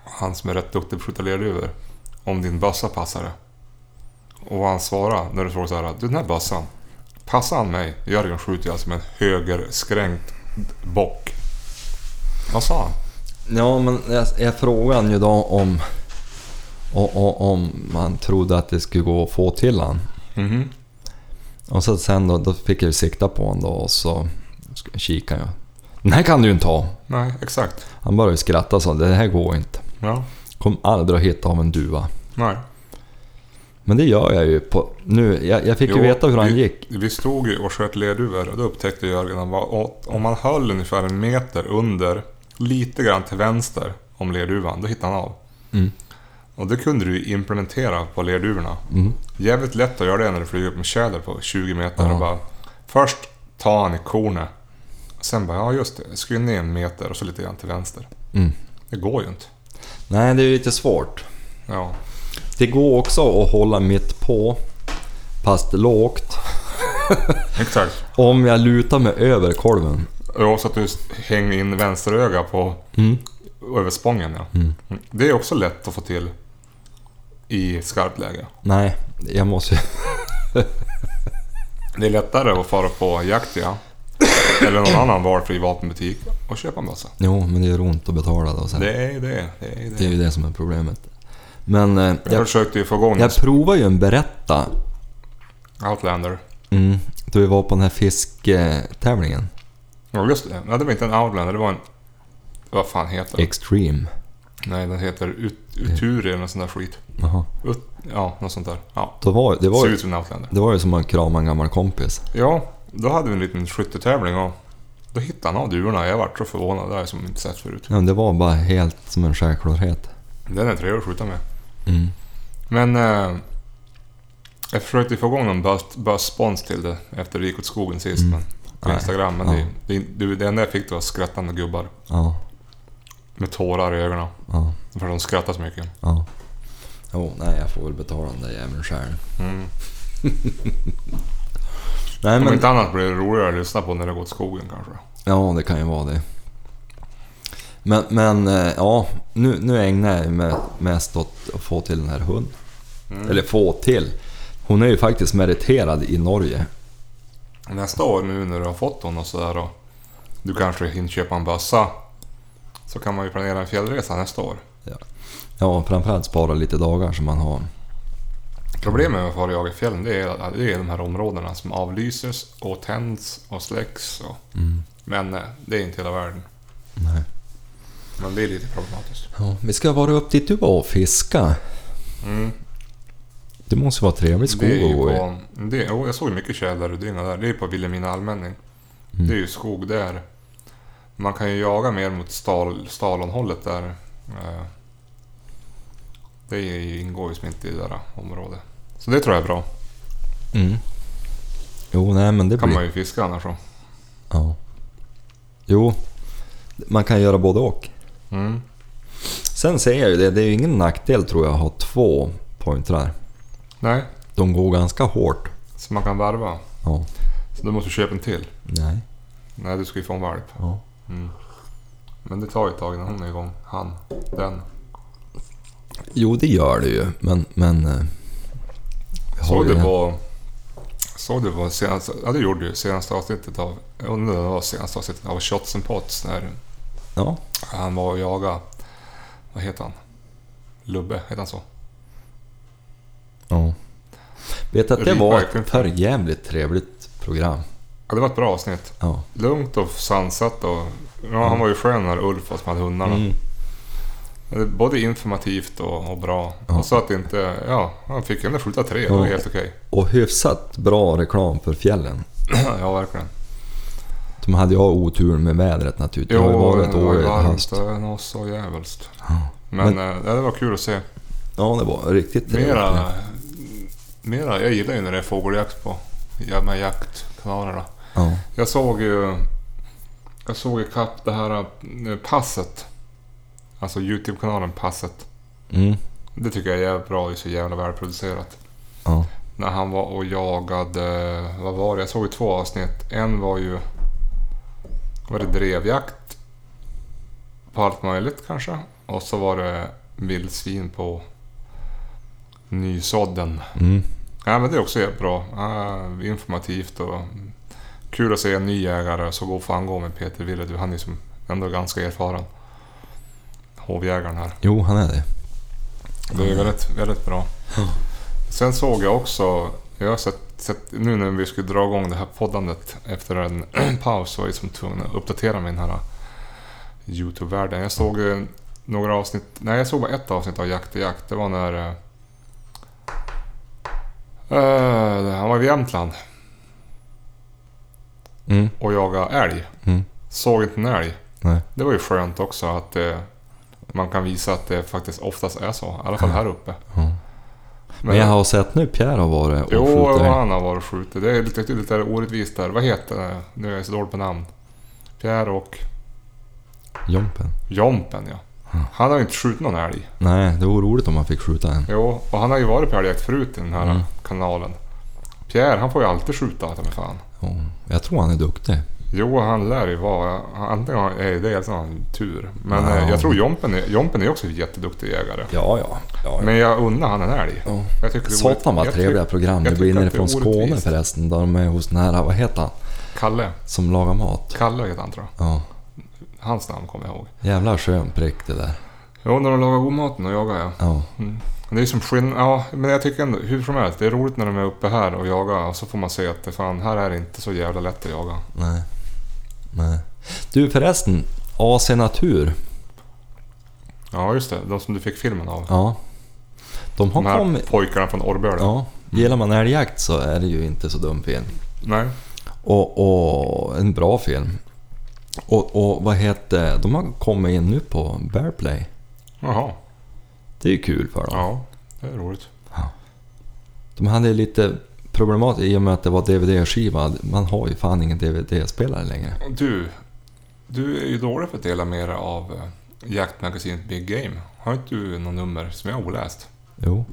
Speaker 2: han som är rätt duktig på att skjuta lerduvor, om din bössa passade? Och vad han svarade när du frågade så här, du den här bössan, passar han mig? Jörgen skjuter jag som en högerskränkt bock. Vad sa han?
Speaker 1: Ja, men jag, jag frågade han ju då om... o- o- Om man trodde att det skulle gå att få till han.
Speaker 2: Mhm.
Speaker 1: Och så sen då, då fick jag ju sikta på honom då och så sk- kikade jag. Den här kan du ju inte ha!
Speaker 2: Nej, exakt.
Speaker 1: Han började ju skratta och sa det här går inte.
Speaker 2: Ja.
Speaker 1: Kom aldrig att hitta av en duva.
Speaker 2: Nej.
Speaker 1: Men det gör jag ju på... Nu, jag, jag fick
Speaker 2: Jo,
Speaker 1: ju veta hur han
Speaker 2: vi,
Speaker 1: gick.
Speaker 2: Vi stod ju och sköt lerduvor och då upptäckte Jörgen att var- å- om man höll ungefär en meter under, lite grann till vänster om lerduvan, då hittade han av.
Speaker 1: Mm.
Speaker 2: Och det kunde du ju implementera på lerduvorna.
Speaker 1: Mm.
Speaker 2: Jävligt lätt att göra det när du flyger upp med tjäder på 20 meter.
Speaker 1: Ja.
Speaker 2: Och bara, först ta han i kornet. Sen bara, ja just det, skynna en meter och så lite grann till vänster.
Speaker 1: Mm.
Speaker 2: Det går ju inte.
Speaker 1: Nej, det är ju lite svårt.
Speaker 2: Ja,
Speaker 1: Det går också att hålla mitt på, fast lågt.
Speaker 2: exakt.
Speaker 1: Om jag lutar mig över kolven.
Speaker 2: Och så att du hänger in vänsteröga på
Speaker 1: Mm.
Speaker 2: Över spången ja.
Speaker 1: Mm.
Speaker 2: Det är också lätt att få till i skarpt läge.
Speaker 1: Nej, jag måste ju...
Speaker 2: Det är lättare att fara på jakt ja. Eller någon annan valfri vapenbutik och köpa en bössa.
Speaker 1: Jo, men det gör ont att betala då sen.
Speaker 2: Det
Speaker 1: Det,
Speaker 2: är det. Det är
Speaker 1: är
Speaker 2: det.
Speaker 1: ju det som är problemet. Men eh,
Speaker 2: Jag
Speaker 1: jag,
Speaker 2: försökte ju få igång
Speaker 1: jag provar ju en berätta.
Speaker 2: Outlander.
Speaker 1: Mm, då vi var på den här fisktävlingen.
Speaker 2: Ja just det. Nej, det var inte en Outlander. Det var en... Vad fan heter den?
Speaker 1: Extreme.
Speaker 2: Nej den heter Ut- Uturi eller någon sån där skit.
Speaker 1: Jaha.
Speaker 2: Ut... Ja, något sånt där. Ja.
Speaker 1: Då var, det, var,
Speaker 2: Ser
Speaker 1: ju-
Speaker 2: ut som en Outlander.
Speaker 1: det var ju som att krama en gammal kompis.
Speaker 2: Ja, då hade vi en liten skyttetävling och då hittade han av duvorna. Jag vart så förvånad. Det har jag som inte sett förut.
Speaker 1: Ja, men det var bara helt som en självklarhet.
Speaker 2: Den är trevlig att skjuta med.
Speaker 1: Mm.
Speaker 2: Men eh, jag försökte få igång någon bös- bösspons till det efter det gick åt skogen sist.
Speaker 1: Mm.
Speaker 2: Men, på
Speaker 1: Nej.
Speaker 2: Instagram. Men
Speaker 1: Ja.
Speaker 2: det, det, det enda jag fick det var skrattande gubbar.
Speaker 1: Ja,
Speaker 2: Med tårar i ögonen.
Speaker 1: ja,
Speaker 2: För de skrattar så mycket.
Speaker 1: ja. Jo, nej jag får väl betala den där jäveln själv.
Speaker 2: Mm.
Speaker 1: Nej
Speaker 2: Om
Speaker 1: men...
Speaker 2: inte annat blir det roligare att lyssna på när det går åt skogen kanske.
Speaker 1: Ja, det kan ju vara det. Men, men eh, ja, nu, nu ägnar jag mig mest åt att få till den här hunden.
Speaker 2: Mm.
Speaker 1: Eller få till. Hon är ju faktiskt meriterad i Norge.
Speaker 2: Nästa år nu när du har fått hon och sådär och du kanske hinner köpa en bössa. Så kan man ju planera en fjällresa nästa år.
Speaker 1: Ja, framförallt spara lite dagar som man har.
Speaker 2: Problemet med att fara och jaga i fjällen det är, det är de här områdena som avlyses och tänds och släcks. Och Men eh, det är inte hela världen.
Speaker 1: Nej.
Speaker 2: Men det är lite problematiskt.
Speaker 1: Ja, vi ska vara upp dit du var och fiska.
Speaker 2: Mm.
Speaker 1: Det måste vara trevlig skog
Speaker 2: Det är
Speaker 1: att
Speaker 2: ju
Speaker 1: gå i.
Speaker 2: på, det, oh, jag såg ju mycket tjäderdynga där. Det är ju på Vilhelmina allmänning.
Speaker 1: Mm.
Speaker 2: Det är ju skog där. Man kan ju jaga mer mot stal, Stalonhållet där. Eh, Det är ju- ingår ju som inte i det där området. Så det tror jag är bra.
Speaker 1: Mm. Jo, nej men det
Speaker 2: kan
Speaker 1: blir...
Speaker 2: man ju fiska annars så.
Speaker 1: Ja. Jo, man kan göra både och.
Speaker 2: Mm.
Speaker 1: Sen säger jag ju det, det är ju ingen nackdel tror jag att ha två pointrar.
Speaker 2: Nej,
Speaker 1: De går ganska hårt.
Speaker 2: så man kan varva.
Speaker 1: Ja.
Speaker 2: Så du måste köpa en till.
Speaker 1: Nej.
Speaker 2: Nej, du ska ju få en valp.
Speaker 1: Ja.
Speaker 2: Mm. Men det tar ju ett tag innan hon är igång. Han. Den.
Speaker 1: Jo, det gör det ju, men... men eh, vi har
Speaker 2: Såg
Speaker 1: ju
Speaker 2: du
Speaker 1: en-
Speaker 2: på... Såg du på senaste... Ja, det gjorde du. Senaste avsnittet av... Jag undrar om det var senaste avsnittet av Shots and Pots när
Speaker 1: Ja.
Speaker 2: han var och jagade... Vad heter han? Lubbe, heter han så?
Speaker 1: ja. Vet att det
Speaker 2: Rik
Speaker 1: var
Speaker 2: verkligen.
Speaker 1: ett för jävligt trevligt program.
Speaker 2: Ja, det var ett bra avsnitt.
Speaker 1: Ja.
Speaker 2: Lugnt och sansat och... Ja, han var ju skön när Ulf alltså, var som hade hundarna.
Speaker 1: Mm.
Speaker 2: Det- Både informativt och, och bra.
Speaker 1: Ja.
Speaker 2: Och så att det inte... Ja, han fick ändå skjuta tre. Det var
Speaker 1: Ja.
Speaker 2: helt okej.
Speaker 1: Och hyfsat bra reklam för fjällen.
Speaker 2: ja, verkligen.
Speaker 1: De hade ju otur med vädret naturligtvis. det har ju varit ett år i höst.
Speaker 2: Det var något så jävligt.
Speaker 1: Ja.
Speaker 2: Men, eh, ja, det var kul att se.
Speaker 1: Ja, det var riktigt
Speaker 2: Mera, mera, jag gillar ju när det är fågeljakt på ja, med jaktkanalerna.
Speaker 1: Ja.
Speaker 2: Jag såg ju... Jag såg ju kapp det här eh, passet. Alltså Youtube-kanalen Passet.
Speaker 1: Mm.
Speaker 2: Det tycker jag är jävligt bra. Det är så jävla välproducerat.
Speaker 1: Ja.
Speaker 2: När han var och jagade... Vad var det? Jag såg ju två avsnitt. En var ju... Var det drevjakt? På allt möjligt kanske. Och så var det vildsvin på nysådden.
Speaker 1: Mm.
Speaker 2: Ja, men det är också jävligt bra. Ja, informativt och kul att se en ny jägare. Så god får han gå med Peter Willedu. Han är som ändå ganska erfaren. Hovjägaren här.
Speaker 1: Jo, han är det.
Speaker 2: Det är väldigt, väldigt bra.
Speaker 1: Ja.
Speaker 2: Sen såg jag också, jag har sett, sett nu när vi skulle dra igång det här poddandet efter en paus så var jag liksom tvungen att uppdatera min här Youtube-världen. Jag såg eh, några avsnitt, nej jag såg bara ett avsnitt av Jakt i jakt. Det var när... eh, eh, han var i Jämtland
Speaker 1: Mm.
Speaker 2: och jagade älg.
Speaker 1: Mm.
Speaker 2: Såg inte en älg.
Speaker 1: Nej.
Speaker 2: Det var ju skönt också att eh, man kan visa att det faktiskt oftast är så. I alla fall här uppe.
Speaker 1: Ja. Men jag har sett nu Pierre har varit och
Speaker 2: Jo,
Speaker 1: skjutit.
Speaker 2: vad
Speaker 1: älg.
Speaker 2: han har varit och skjutit. Det är lite, lite orättvist där. Vad heter det? Nu är jag så dålig på namn. Pierre och
Speaker 1: Jompen.
Speaker 2: Jompen ja.
Speaker 1: Mm.
Speaker 2: Han har ju inte skjutit någon älg.
Speaker 1: Nej, det vore roligt om han fick skjuta en.
Speaker 2: Jo, och han har ju varit på älgjakt förut i den här
Speaker 1: Mm.
Speaker 2: kanalen. Pierre, han får ju alltid skjuta ta mig fan.
Speaker 1: Ja. Jag tror han är duktig.
Speaker 2: Jo, han lär ju vara... Antingen har- är det eller så har han tur. Men
Speaker 1: Ja.
Speaker 2: eh, jag tror Jompen är, Jompen är också en jätteduktig jägare.
Speaker 1: Ja, ja. ja,
Speaker 2: Men jag undrar han en älg.
Speaker 1: Ja.
Speaker 2: Jag tycker det vore-
Speaker 1: Satan vad
Speaker 2: jag tycker-
Speaker 1: trevliga program det
Speaker 2: jag
Speaker 1: blir
Speaker 2: tycker att det
Speaker 1: nerifrån
Speaker 2: är
Speaker 1: Skåne
Speaker 2: orättvist.
Speaker 1: förresten. Där de är hos den här, vad heter han?
Speaker 2: Kalle.
Speaker 1: Som lagar mat.
Speaker 2: Kalle heter han tror jag.
Speaker 1: Ja.
Speaker 2: Hans namn kommer jag ihåg.
Speaker 1: Jävla skön prick det där.
Speaker 2: Jo, när de lagar god maten och jagar jag.
Speaker 1: Ja.
Speaker 2: Det är som skillnad. Ja, men jag tycker ändå, hur som helst, det är roligt när de är uppe här och jagar och så får man se att det fan, här är det inte så jävla lätt att jaga.
Speaker 1: Nej. Nej. Du förresten, AC Natur.
Speaker 2: Ja, just det. De som du fick filmen av.
Speaker 1: Ja. De har
Speaker 2: De här
Speaker 1: kommit...
Speaker 2: pojkarna från Orrböle.
Speaker 1: Ja. Gillar man älgjakt så är det ju inte så dum film.
Speaker 2: Nej.
Speaker 1: Och, och en bra film. Och, och vad heter... De har kommit in nu på Bearplay.
Speaker 2: Jaha.
Speaker 1: Det är ju kul för dem.
Speaker 2: Ja, det är roligt.
Speaker 1: De hade lite problematiskt i och med att det var DVD-skiva. Man har ju fan ingen DVD-spelare längre.
Speaker 2: Du, du är ju dålig för att dela med dig av eh, jaktmagasinet Big Game. Har inte du något nummer som jag har oläst?
Speaker 1: Jo.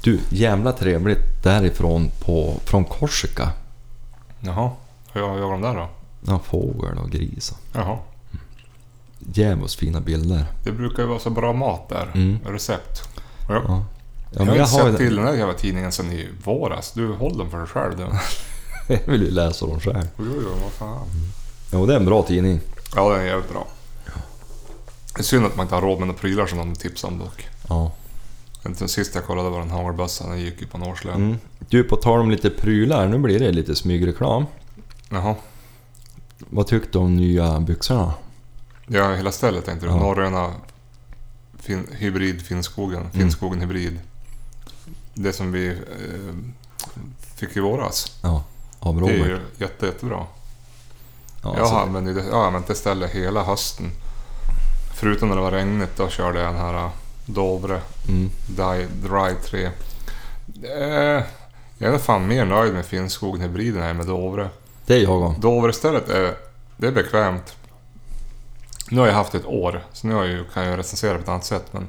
Speaker 1: Du, jävla trevligt därifrån på, från Korsika.
Speaker 2: Jaha. Hur jag jagar de där då?
Speaker 1: Ja, fågel och gris. och-
Speaker 2: Jaha.
Speaker 1: Djävulskt fina bilder.
Speaker 2: Det brukar ju vara så bra mat där.
Speaker 1: Mm.
Speaker 2: Recept.
Speaker 1: Ja. Ja,
Speaker 2: jag
Speaker 1: men
Speaker 2: har
Speaker 1: jag,
Speaker 2: inte
Speaker 1: har
Speaker 2: sett
Speaker 1: ju,
Speaker 2: till den här jävla tidningen sedan i våras. Du, håll den för dig själv du.
Speaker 1: jag vill ju läsa dem själv.
Speaker 2: Jo, jo, vad fan.
Speaker 1: Jo, det är en bra tidning.
Speaker 2: Ja, den är jävligt bra. Det är synd att man inte har råd med några prylar som de tipsade om dock.
Speaker 1: Ja.
Speaker 2: Den sista jag kollade var en hagelbössa. Den gick ju på en årslön.
Speaker 1: Mm. Du, på tal om lite prylar. Nu blir det lite smygreklam.
Speaker 2: Jaha.
Speaker 1: Vad tyckte du om nya byxorna?
Speaker 2: Ja, hela stället tänkte du.
Speaker 1: Ja.
Speaker 2: Norröna fin, hybrid
Speaker 1: Mm.
Speaker 2: Finnskogen. Finnskogen hybrid. Det som vi eh, fick i våras.
Speaker 1: Ja, av
Speaker 2: Det är
Speaker 1: Robert?
Speaker 2: ju jätte, jättebra.
Speaker 1: Ja,
Speaker 2: jag,
Speaker 1: alltså,
Speaker 2: har använt det, jag har använt det stället hela hösten. Förutom när det var regnigt, då körde jag den här eh, Dovre
Speaker 1: mm,
Speaker 2: Dye Dry 3. Eh, jag är fan mer nöjd med Finnskogen hybriden här med Dovre.
Speaker 1: det är jag också.
Speaker 2: Doverstället är, det är bekvämt. Nu har jag haft ett år, så nu har jag, ju- kan jag recensera på ett annat sätt. Men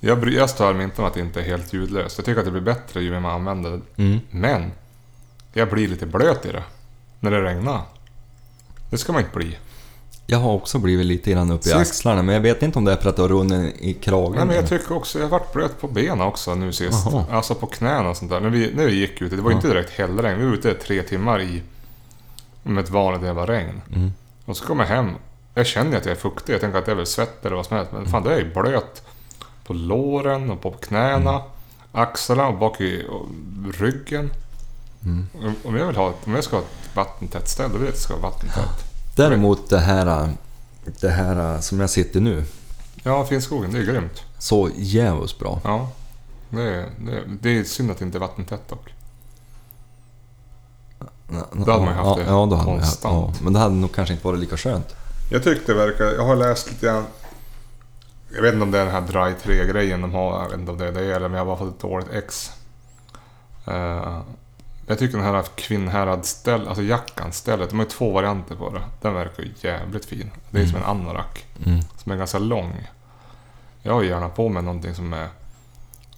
Speaker 2: jag, bry- jag stör mig inte om att det inte är helt ljudlöst. Jag tycker att det blir bättre ju mer man använder det.
Speaker 1: Mm.
Speaker 2: Men jag blir lite blöt i det när det regnar. Det ska man inte bli.
Speaker 1: Jag har också blivit lite grann uppe i
Speaker 2: Sist-
Speaker 1: axlarna, men jag vet inte om det är för att du har runnit i kragen.
Speaker 2: Nej, men jag tycker också, jag har varit blöt på benen också nu sist.
Speaker 1: Jaha.
Speaker 2: Alltså på knäna och sånt där. När vi, när vi gick ute, det var ju
Speaker 1: Ja.
Speaker 2: inte direkt hällregn. Vi var ute tre timmar i med ett vanligt jävla regn.
Speaker 1: Mm.
Speaker 2: Och så kom jag hem. Jag känner ju att jag är fuktig. Jag tänker att det är väl svett eller vad som helst. Men fan, det är ju blöt. På låren och på knäna. Axlarna och bak i och ryggen.
Speaker 1: Mm.
Speaker 2: Om- Om jag, vill ha, ett- om jag ska ha ett vattentätt ställe, då vill jag att det ska vara vattentätt.
Speaker 1: Däremot det här, äh, det här äh, som jag sitter nu,
Speaker 2: Ja, Finnskogen, det är grymt.
Speaker 1: så jävligt bra.
Speaker 2: Ja. Det är, det, är, det är synd att det inte är vattentätt dock.
Speaker 1: Då
Speaker 2: hade man ju haft
Speaker 1: ja,
Speaker 2: det
Speaker 1: Ja, då hade man ju haft, ja,
Speaker 2: konstant.
Speaker 1: men det hade nog kanske inte varit lika skönt.
Speaker 2: Jag tyckte det verkar... Jag har läst lite grann... Jag vet inte om det är den här Dry 3-grejen de har. Jag vet inte om det är det eller om jag har bara fått ett dåligt ex. Eh, jag tycker den här Kvinnherad-ställ, alltså jackan, stället. De har ju två varianter på det. Den verkar ju jävligt fin. Det är som en anorak
Speaker 1: Mm.
Speaker 2: som är ganska lång. Jag har ju gärna på mig någonting som är,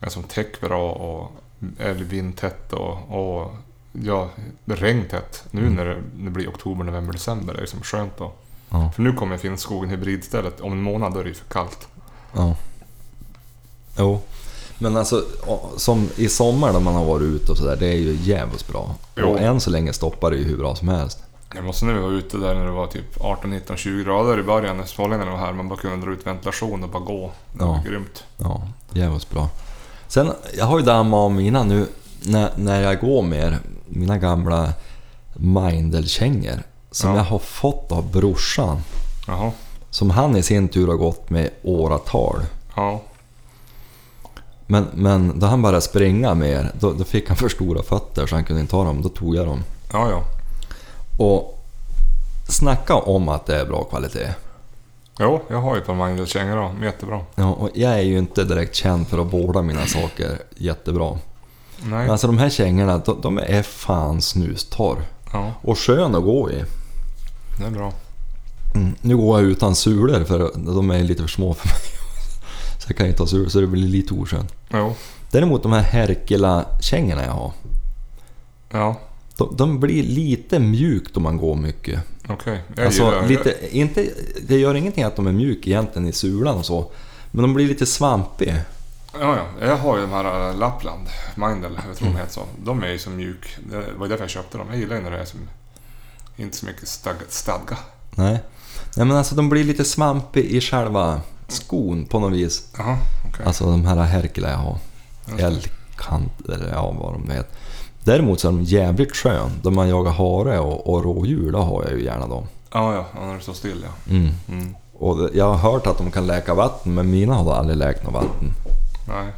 Speaker 2: är som täcker bra och är vindtätt och, och ja, regntätt. Nu när det, när det blir oktober, november, december är det som skönt då.
Speaker 1: Ja,
Speaker 2: För nu kommer Finnskogen hybridstället. Om en månad då är det ju för kallt.
Speaker 1: ja. Jo. Men alltså, å- som i sommar när man har varit ute och sådär, det är ju jävligt bra.
Speaker 2: Jo.
Speaker 1: Och än så länge stoppar det ju hur bra som helst.
Speaker 2: Jag måste nu vara ute där när det var typ 18, 19, 20 grader i början när smålänningarna var här. Man bara kunde dra ut ventilation och bara gå. Det var
Speaker 1: Ja.
Speaker 2: grymt.
Speaker 1: Ja, jävligt bra. Sen, jag har ju dammat av mina nu när, när jag går mer. Mina gamla Mindel-kängor. Som
Speaker 2: Ja.
Speaker 1: jag har fått av brorsan.
Speaker 2: Jaha.
Speaker 1: Som han i sin tur har gått med åratal.
Speaker 2: Ja.
Speaker 1: Men, men då han började springa mer, då, då fick han för stora fötter så han kunde inte ta dem. Då tog jag dem.
Speaker 2: Ja, ja.
Speaker 1: Och snacka om att det är bra kvalitet.
Speaker 2: Jo, jag har ju ett par Magnus-kängor då. De är Jättebra.
Speaker 1: Ja, och jag är ju inte direkt känd för att vårda mina saker jättebra.
Speaker 2: Nej.
Speaker 1: Men alltså de här kängorna, de, de är fan snustorr.
Speaker 2: Ja,
Speaker 1: Och skön att gå i.
Speaker 2: det är bra.
Speaker 1: Mm. Nu går jag utan sulor för de är lite för små för mig. Så jag kan inte ha sulor så det blir lite oskönt.
Speaker 2: Jo.
Speaker 1: Däremot de här Herkela-kängorna jag har.
Speaker 2: Ja,
Speaker 1: De, de blir lite mjukt om man går mycket.
Speaker 2: okej. Jag gillar
Speaker 1: Alltså,
Speaker 2: det.
Speaker 1: lite, inte, det gör ingenting att de är mjuk egentligen i sulan och så. Men de blir lite svampiga.
Speaker 2: Ja, ja. Jag har ju de här äh, Lappland, Mindel, jag tror de heter så. De är ju så mjuk. Det var ju därför jag köpte dem. Jag gillar ju när det är som... Inte så mycket stag- stadga.
Speaker 1: Nej. Nej men alltså de blir lite svampiga i själva skon på något vis.
Speaker 2: Jaha, okej.
Speaker 1: Alltså de här Herkula jag har.
Speaker 2: Just det.
Speaker 1: Älgkant eller ja, vad de heter. Däremot så är de jävligt skön. Då man jagar hare och, och rådjur, då har jag ju gärna dem.
Speaker 2: Ja, ja. ja, När det står still, ja.
Speaker 1: Mm.
Speaker 2: Mm.
Speaker 1: Och det- jag har hört att de kan läka vatten, men mina har aldrig läkt något vatten.
Speaker 2: Nej.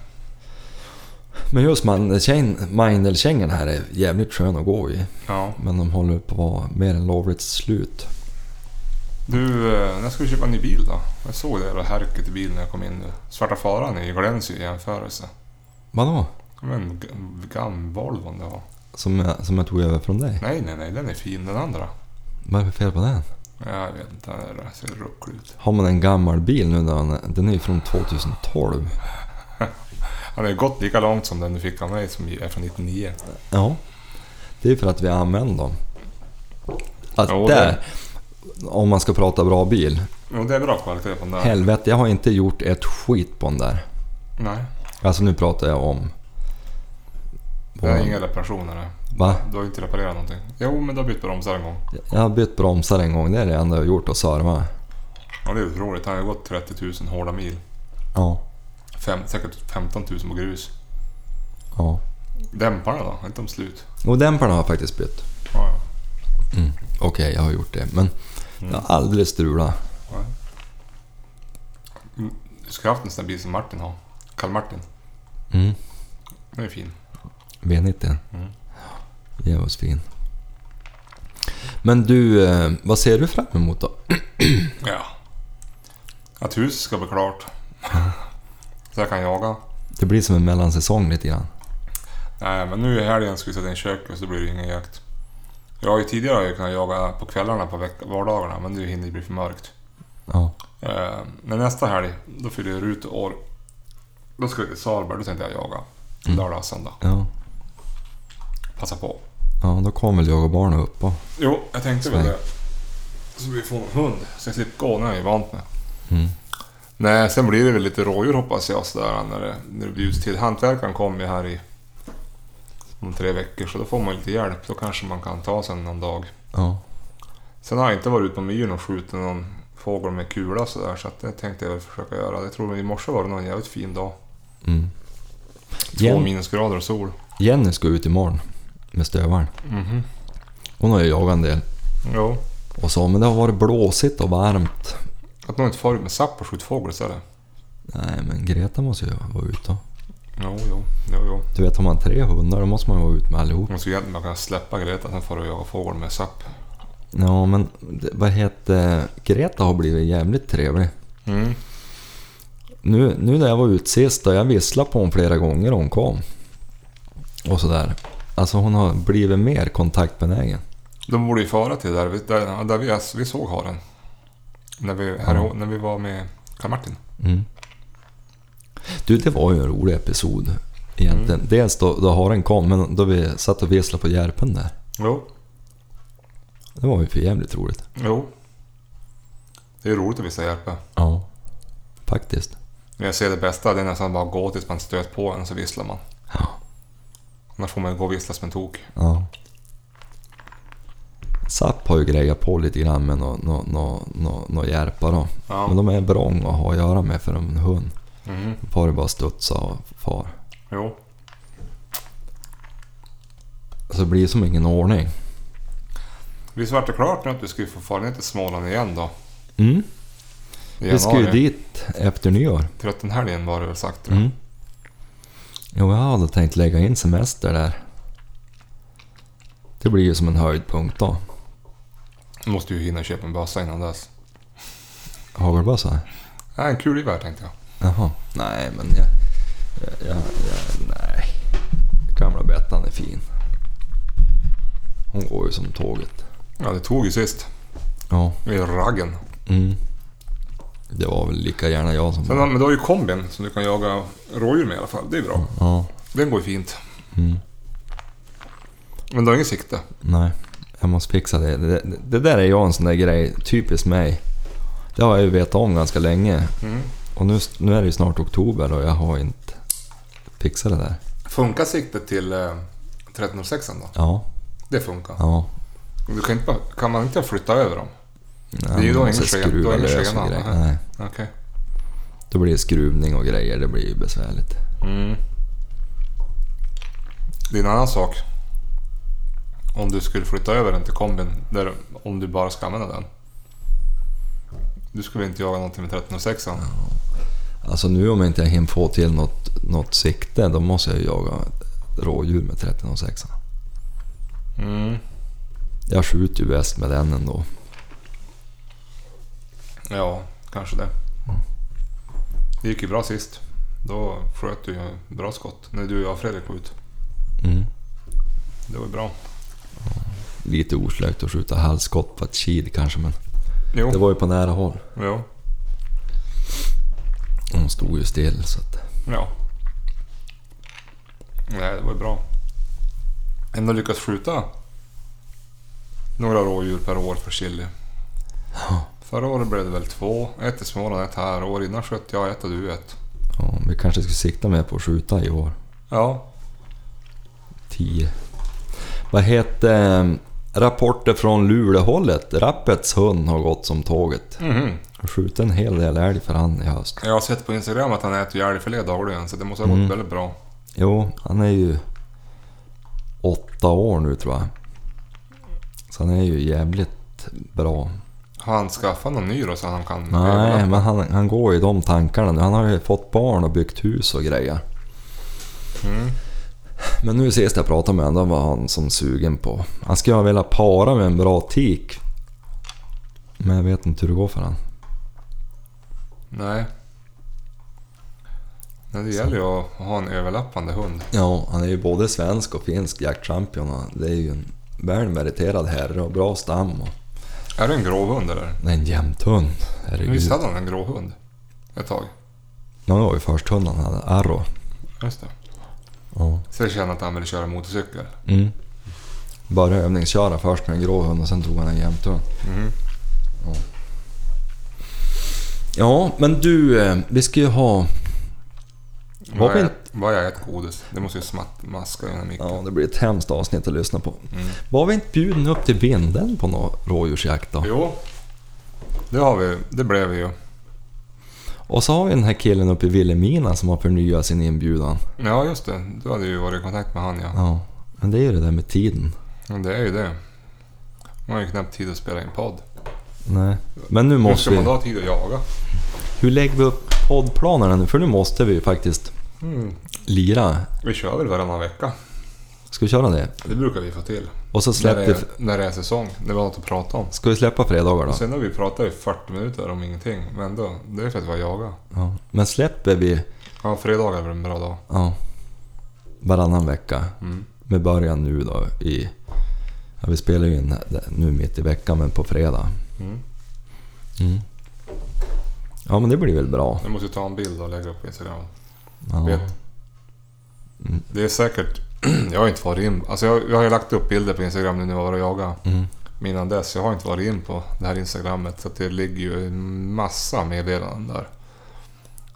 Speaker 1: Men just mandelkäng- Mindelkängorna här är jävligt skön att gå i.
Speaker 2: Ja.
Speaker 1: Men de håller på att vara mer än lovligt slut.
Speaker 2: Du, eh, när ska vi köpa en ny bil då? Jag såg det jävla härket i bilen när jag kom in nu. Svarta faran i glänser ju i jämförelse.
Speaker 1: Vadå?
Speaker 2: Men gammal Volvo det var.
Speaker 1: Som jag, som jag tog över från dig?
Speaker 2: Nej, nej, nej. Den är fin den andra.
Speaker 1: Vad är det för fel på den?
Speaker 2: Jag vet inte. Den där ser rucklig ut.
Speaker 1: Har man en gammal bil nu då? Den är ju från 2012.
Speaker 2: Han har ju gått lika långt som den du fick av mig som är från 99.
Speaker 1: Ja. Det är för att vi använder dem. Att
Speaker 2: Jo, det-
Speaker 1: där, om man ska prata bra bil.
Speaker 2: Jo, det är bra kvalitet på den där.
Speaker 1: Helvete, jag har inte gjort ett skit på den där.
Speaker 2: Nej,
Speaker 1: Alltså nu pratar jag om...
Speaker 2: det är inga reparationer. nej.
Speaker 1: Va?
Speaker 2: Du har ju inte reparerat någonting. Jo, men du har bytt bromsar en gång.
Speaker 1: Jag har bytt bromsar en gång, det är det enda jag har gjort och serva.
Speaker 2: Ja, det är otroligt. Han har ju gått 30 000 hårda mil.
Speaker 1: Ja,
Speaker 2: Fem, säkert 15 000 på grus.
Speaker 1: ja.
Speaker 2: Dämparna då? Är inte de slut?
Speaker 1: Och dämparna har jag faktiskt bytt.
Speaker 2: Ja, ja.
Speaker 1: Mm. Okej, jag har gjort det. Men
Speaker 2: Mm.
Speaker 1: jag har aldrig strulat.
Speaker 2: Du skulle haft en sån där bil som Martin har. Karl-Martin.
Speaker 1: Mm.
Speaker 2: Den är fin.
Speaker 1: V90.
Speaker 2: Mm.
Speaker 1: Djävulskt fin. Men du, eh, vad ser du fram emot då?
Speaker 2: Ja. Att huset ska bli klart. Så jag kan jaga.
Speaker 1: Det blir som en mellansäsong lite grann.
Speaker 2: Nej, men nu i helgen ska vi sätta in köket så blir det ingen jakt. Jag har ju tidigare kunnat jaga på kvällarna på veck- vardagarna men nu hinner det bli för mörkt.
Speaker 1: Ja.
Speaker 2: Eh, men nästa helg, då fyller Rut år. Då ska vi till Salberg, då tänkte jag jaga.
Speaker 1: Mm.
Speaker 2: Lördag och söndag.
Speaker 1: Ja,
Speaker 2: Passa på.
Speaker 1: ja då kommer väl jag och barnen upp och...
Speaker 2: Jo, jag tänkte väl
Speaker 1: Sväng.
Speaker 2: det. Så vi får en hund, så jag slipper gå när jag är vant med.
Speaker 1: Mm.
Speaker 2: Nej, sen blir det väl lite rådjur hoppas jag sådär när det, när det bjuds till. Hantverkaren kommer ju här i om tre veckor så då får man ju lite hjälp. Då kanske man kan ta sen någon dag.
Speaker 1: Ja.
Speaker 2: Sen har jag inte varit ute på myren och skjutit någon fågel med kula sådär så att det tänkte jag väl försöka göra. Jag tror i morse var det någon jävligt fin dag.
Speaker 1: Mm.
Speaker 2: Två
Speaker 1: Jen-
Speaker 2: minusgrader och sol.
Speaker 1: Jenny ska ut imorgon med stövaren.
Speaker 2: Mhm.
Speaker 1: Hon har ju jagat en del
Speaker 2: Jo.
Speaker 1: och sa men det har varit blåsigt och varmt.
Speaker 2: Att någon inte far ut med sapp och skjuter fågel istället.
Speaker 1: Nej men Greta måste ju vara ute. och-
Speaker 2: Jo, jo, jo, jo.
Speaker 1: Du vet har man tre hundar då måste man ju vara ute med allihop.
Speaker 2: Man skulle egentligen bara kunna släppa Greta sen far och jaga fågel med sapp.
Speaker 1: Ja men det- vad heter... Greta har blivit jävligt trevlig.
Speaker 2: Mm.
Speaker 1: Nu, nu när jag var ute sist och jag visslade på hon flera gånger hon kom. Och sådär. Alltså hon har blivit mer kontaktbenägen.
Speaker 2: De borde ju fara till där vi, där, där vi, vi såg haren. När vi, här,
Speaker 1: Ja.
Speaker 2: när vi var med Karl-Martin.
Speaker 1: Mm. Du, det var ju en rolig episod egentligen. Dels då, då haren kom, men då vi satt och visslade på Järpen där.
Speaker 2: Jo.
Speaker 1: Det var ju för jävligt roligt.
Speaker 2: jo. Det är ju roligt att vissa hjälper.
Speaker 1: Ja. Faktiskt.
Speaker 2: Men jag ser det bästa, det är nästan bara att gå tills man stöter på en så visslar man.
Speaker 1: Ja.
Speaker 2: Annars får man ju gå och vissla som en tok.
Speaker 1: ja. Sapp har ju grejat på lite grann med några nå, nå, nå, nå järpar då.
Speaker 2: Ja.
Speaker 1: Men de är vrång att ha att göra med för en hund.
Speaker 2: Mhm.
Speaker 1: Far är bara studsa och far.
Speaker 2: Jo.
Speaker 1: Så det blir som ingen ordning.
Speaker 2: Visst vart det klart nu att du skulle få fara ner till Småland igen då?
Speaker 1: Mm.
Speaker 2: I
Speaker 1: Vi ska ju
Speaker 2: januari.
Speaker 1: dit efter nyår.
Speaker 2: Trettonhelgen var det väl sagt tror jag.
Speaker 1: Mm. Jo, jag hade tänkt lägga in semester där. Det blir ju som en höjdpunkt då. Mm.
Speaker 2: Du måste ju hinna köpa en bössa innan dess.
Speaker 1: Hagelbössa?
Speaker 2: Nej, en kulgevär tänkte jag.
Speaker 1: Jaha. Nej, men jag... jag, jag, jag nej. Gamla Bettan är fin. Hon går ju som tåget.
Speaker 2: Ja, det tog ju sist.
Speaker 1: Ja.
Speaker 2: I raggen.
Speaker 1: Mm. Det var väl lika gärna jag som...
Speaker 2: Sen, har- men du har ju kombin som du kan jaga rådjur med i alla fall. Det är bra.
Speaker 1: Ja.
Speaker 2: Den går ju fint.
Speaker 1: Mm.
Speaker 2: Men du har ingen sikte?
Speaker 1: Nej, jag måste fixa det. Det, det. det där är jag en sån där grej, typiskt mig. Det har jag ju vetat om ganska länge.
Speaker 2: Mm.
Speaker 1: Och nu, nu är det ju snart oktober och jag har inte fixat det där.
Speaker 2: Funkar siktet till eh, 1306 då?
Speaker 1: Ja,
Speaker 2: Det funkar.
Speaker 1: ja.
Speaker 2: Du kan, inte, bara- kan man inte flytta över dem?
Speaker 1: Nej,
Speaker 2: är ju då
Speaker 1: man
Speaker 2: ingen
Speaker 1: måste
Speaker 2: skruv-
Speaker 1: skruva
Speaker 2: då är det
Speaker 1: lös
Speaker 2: ingen
Speaker 1: och
Speaker 2: skena,
Speaker 1: grejer.
Speaker 2: nej.
Speaker 1: Nej,
Speaker 2: Okej.
Speaker 1: då blir det skruvning och grejer. Det blir ju besvärligt.
Speaker 2: Mm. Det är en annan sak. Om du skulle flytta över den till kombin, där, om du bara ska använda den. Du skulle väl inte jaga någonting med 1306
Speaker 1: Alltså nu om inte jag hinner få till något, något sikte, då måste jag ju jaga rådjur med 1306.
Speaker 2: mm.
Speaker 1: Jag skjuter ju bäst med den ändå.
Speaker 2: Ja, kanske det. Det gick ju bra sist. Då sköt du ju bra skott. När du och jag och Fredrik var ut.
Speaker 1: Mm.
Speaker 2: Det var ju bra.
Speaker 1: Lite oslöjt att skjuta halvskott på ett kid kanske, men
Speaker 2: Jo.
Speaker 1: det var ju på nära håll.
Speaker 2: Jo.
Speaker 1: Hon stod ju still så att...
Speaker 2: Ja. Nej, det var ju bra. Ändå lyckats skjuta några rådjur per år för chili.
Speaker 1: Ja.
Speaker 2: Förra året blev det väl två. Ett i Småland, ett här. År innan sköt jag ett och du ett.
Speaker 1: Ja, vi kanske skulle sikta mer på att skjuta i år.
Speaker 2: Ja.
Speaker 1: 10. Vad heter... eh, Rapporter från Luleåhållet. Rappets hund har gått som tåget.
Speaker 2: Mhm.
Speaker 1: Har skjutit en hel del älg för han i höst.
Speaker 2: Jag har sett på Instagram att han äter ju älgfilé dagligen så det måste ha gått
Speaker 1: Mm.
Speaker 2: väldigt bra.
Speaker 1: Jo, han är ju åtta år nu tror jag. Så han är ju jävligt bra.
Speaker 2: Har han skaffat någon ny då så han kan...
Speaker 1: Nej, men han, han går ju i de tankarna nu. Han har ju fått barn och byggt hus och grejer.
Speaker 2: Mm.
Speaker 1: Men nu sist jag pratade med honom, då var han som sugen på... Han skulle ha velat para med en bra tik. Men jag vet inte hur det går för han.
Speaker 2: Nej. Nej, det gäller ju att ha en överlappande hund.
Speaker 1: Ja, han är ju både svensk och finsk jaktchampion. och Det är ju en välmeriterad herre och bra stam. Och...
Speaker 2: Är det en gråhund eller?
Speaker 1: Det är en jämthund.
Speaker 2: Visst
Speaker 1: Herregud.
Speaker 2: hade han en gråhund? Ett tag.
Speaker 1: Ja, det var ju försthunden han hade. Arro.
Speaker 2: Just det.
Speaker 1: Ja.
Speaker 2: Så jag kände att han ville köra motorcykel.
Speaker 1: Mm. Började övningsköra först med en grå hund och sen tog han en jämthund.
Speaker 2: Mm.
Speaker 1: Ja, men du, eh, vi ska ju ha...
Speaker 2: Vad
Speaker 1: Var
Speaker 2: jag- Vad jag ätit godis. Det måste ju smatt, maska genom micken.
Speaker 1: Ja, det blir ett hemskt avsnitt att lyssna på.
Speaker 2: Mm.
Speaker 1: Var vi inte bjudna upp till vinden på någon rådjursjakt då?
Speaker 2: Jo. Det har vi. Det blev vi ju.
Speaker 1: Och så har vi den här killen uppe i Vilhelmina som har förnyat sin inbjudan.
Speaker 2: Ja, just det. Du hade ju varit i kontakt med han ja.
Speaker 1: Ja, men det är ju det där med tiden.
Speaker 2: Men det är ju det. Man har ju knappt tid att spela in podd.
Speaker 1: Nej. Men nu
Speaker 2: Hur
Speaker 1: måste
Speaker 2: ska man då
Speaker 1: vi...
Speaker 2: ha tid att jaga?
Speaker 1: Hur lägger vi upp poddplanerna nu? För nu måste vi ju faktiskt
Speaker 2: Mm.
Speaker 1: lira.
Speaker 2: Vi kör väl varannan vecka.
Speaker 1: Ska vi köra det?
Speaker 2: Det brukar vi få till.
Speaker 1: Och så
Speaker 2: När
Speaker 1: släpper vi...
Speaker 2: det, är, när det är säsong. Det var något att prata om.
Speaker 1: Ska vi släppa fredagar då?
Speaker 2: Och sen har vi pratat i 40 minuter om ingenting. Men ändå, det är för att vi har jagat.
Speaker 1: Ja. Men släpper vi
Speaker 2: Ja, fredagar är väl en bra dag.
Speaker 1: ja, varannan vecka
Speaker 2: Mm.
Speaker 1: med början nu då i... Ja, vi spelar ju in det- nu mitt i veckan men på fredag.
Speaker 2: Mm.
Speaker 1: Mm. Ja men det blir väl bra.
Speaker 2: Jag måste ju ta en bild och lägga upp på Instagram.
Speaker 1: Ja.
Speaker 2: Vet.
Speaker 1: Mm.
Speaker 2: Det är säkert... jag har inte varit in... Alltså jag, jag har ju lagt upp bilder på Instagram nu när jag var och jagade.
Speaker 1: Mm.
Speaker 2: Men innan dess, jag har inte varit in på det här Instagrammet. Så att det ligger ju en massa meddelanden där.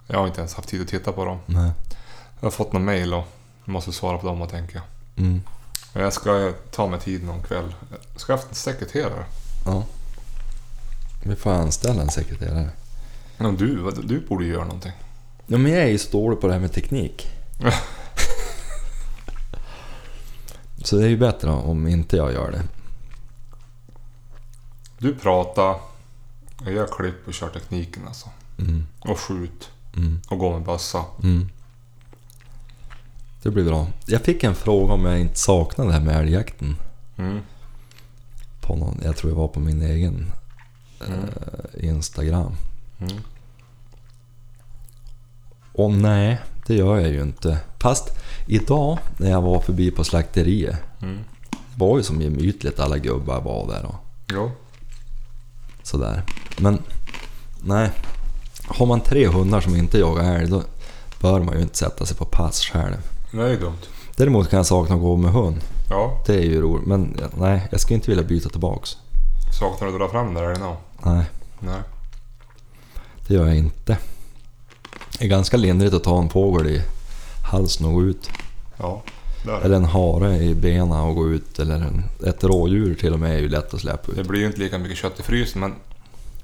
Speaker 2: Jag har inte ens haft tid att titta på dem.
Speaker 1: Nej.
Speaker 2: Jag har fått någon mail och måste svara på dem och tänka.
Speaker 1: Mm.
Speaker 2: Men jag ska eh, ta mig tid någon kväll. Jag ska ha haft en sekreterare.
Speaker 1: Ja. Vi får anställa en sekreterare.
Speaker 2: Men du, vad- du borde ju göra någonting.
Speaker 1: Ja men jag är ju så dålig på det här med teknik. så det är ju bättre om inte jag gör det.
Speaker 2: Du pratar, jag gör klipp och kör tekniken alltså.
Speaker 1: Mm.
Speaker 2: Och skjut
Speaker 1: Mm.
Speaker 2: och gå med bössa.
Speaker 1: Mm. Det blir bra. Jag fick en fråga om jag inte saknade det här med älgjakten.
Speaker 2: Mm.
Speaker 1: På någon, jag tror det var på min egen
Speaker 2: Mm.
Speaker 1: eh, Instagram.
Speaker 2: Mm.
Speaker 1: Och nej, det gör jag ju inte. Fast idag när jag var förbi på slakteriet.
Speaker 2: Mm.
Speaker 1: Det var ju som gemytligt alla gubbar var där och
Speaker 2: Jo.
Speaker 1: sådär. Men nej. Har man tre hundar som inte jagar älg då bör man ju inte sätta sig på pass själv.
Speaker 2: Nej, det är dumt.
Speaker 1: Däremot kan jag sakna att gå med hund.
Speaker 2: Ja.
Speaker 1: Det är ju roligt. Men ja, nej, jag skulle inte vilja byta tillbaks.
Speaker 2: Saknar du att dra fram där eller nå?
Speaker 1: Nej,
Speaker 2: Nej.
Speaker 1: det gör jag inte. Det är ganska lindrigt att ta en fågel i halsen och gå ut.
Speaker 2: Ja. Där.
Speaker 1: Eller en hare i benen och gå ut. Eller en, ett rådjur till och med är ju lätt att släppa
Speaker 2: Det
Speaker 1: ut.
Speaker 2: blir ju inte lika mycket kött i frysen men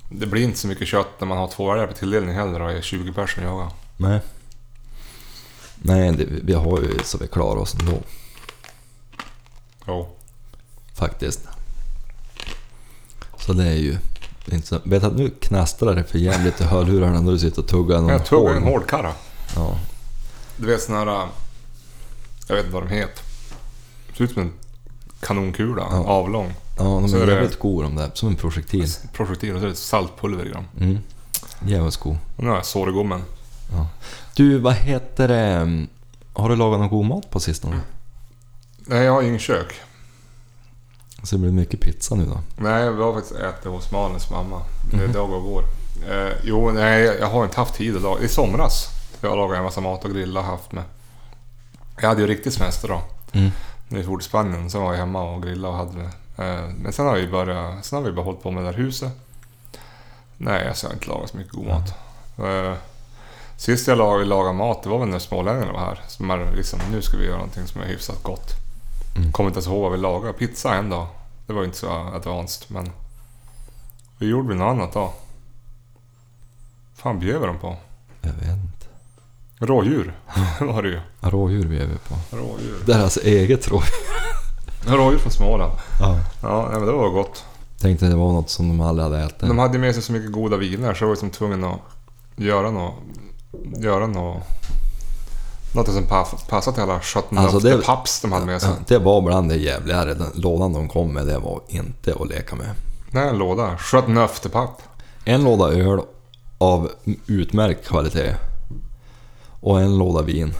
Speaker 2: det blir inte så mycket kött när man har två älgar på tilldelning heller och är 20 personer som jagar.
Speaker 1: Nej. Nej, det, vi har ju så vi klarar oss ändå
Speaker 2: Jo.
Speaker 1: faktiskt. Så det är ju inte så... Vet att nu knastrar det för jävligt i hörlurarna när du sitter och tuggar någon
Speaker 2: Jag tog en
Speaker 1: hål.
Speaker 2: hårdkarra.
Speaker 1: Ja.
Speaker 2: Du vet såna här... Jag vet inte vad de heter. Ser ut som en kanonkula.
Speaker 1: Ja.
Speaker 2: Avlång.
Speaker 1: ja, de
Speaker 2: Så är
Speaker 1: är
Speaker 2: det-
Speaker 1: jävligt goda de där. Som en projektil.
Speaker 2: Projektil och så är det saltpulver i dem.
Speaker 1: Mm. Jävligt god.
Speaker 2: Och nu har jag sår i gommen.
Speaker 1: Du, vad heter det? Har du lagat någon god mat på sistone?
Speaker 2: Nej, jag har ingen kök.
Speaker 1: Så Alltså, det blir mycket pizza nu då.
Speaker 2: Nej, vi har faktiskt ätit hos Malins mamma. Det är dag och går. Eh, jo, nej, jag har inte haft tid idag. I somras har jag lagat en massa mat och grillat haft med. Jag hade ju riktigt semester då.
Speaker 1: Mm.
Speaker 2: När vi for till Spanien. Sen var jag hemma och grillade och hade med. Eh, men sen har vi börjat... Sen har vi bara hållit på med det där huset. Nej, alltså jag har inte lagat så mycket god mat. Eh, sist jag lagade, lagade mat, det var väl när smålänningarna var här. Som är liksom, nu ska vi göra någonting som är hyfsat gott.
Speaker 1: Mm.
Speaker 2: Kommer inte ens ihåg vad vi lagade. Pizza en dag. Det var ju inte så advanced, men... Vi gjorde vi något annat då? fan bjöd vi dem på?
Speaker 1: Jag vet inte.
Speaker 2: Rådjur var det ju.
Speaker 1: Ja, Rådjur vi är vi på.
Speaker 2: Rådjur.
Speaker 1: Deras eget rådjur.
Speaker 2: Rådjur från Småland.
Speaker 1: Ja.
Speaker 2: Ja, nej, men det var gott.
Speaker 1: Tänkte det var något som de aldrig hade ätit.
Speaker 2: De hade med sig så mycket goda viner så jag var liksom tvungen att göra något... Göra något... Något som paff- passade till alla chatten
Speaker 1: Alltså,
Speaker 2: alltså,
Speaker 1: det-
Speaker 2: paps de hade med sig.
Speaker 1: Ja, det var bland det jävligare. Den lådan de kom med, det var inte att leka med.
Speaker 2: Nej, en låda. Chatten-öfterpapp.
Speaker 1: En låda öl av utmärkt kvalitet. Och en låda vin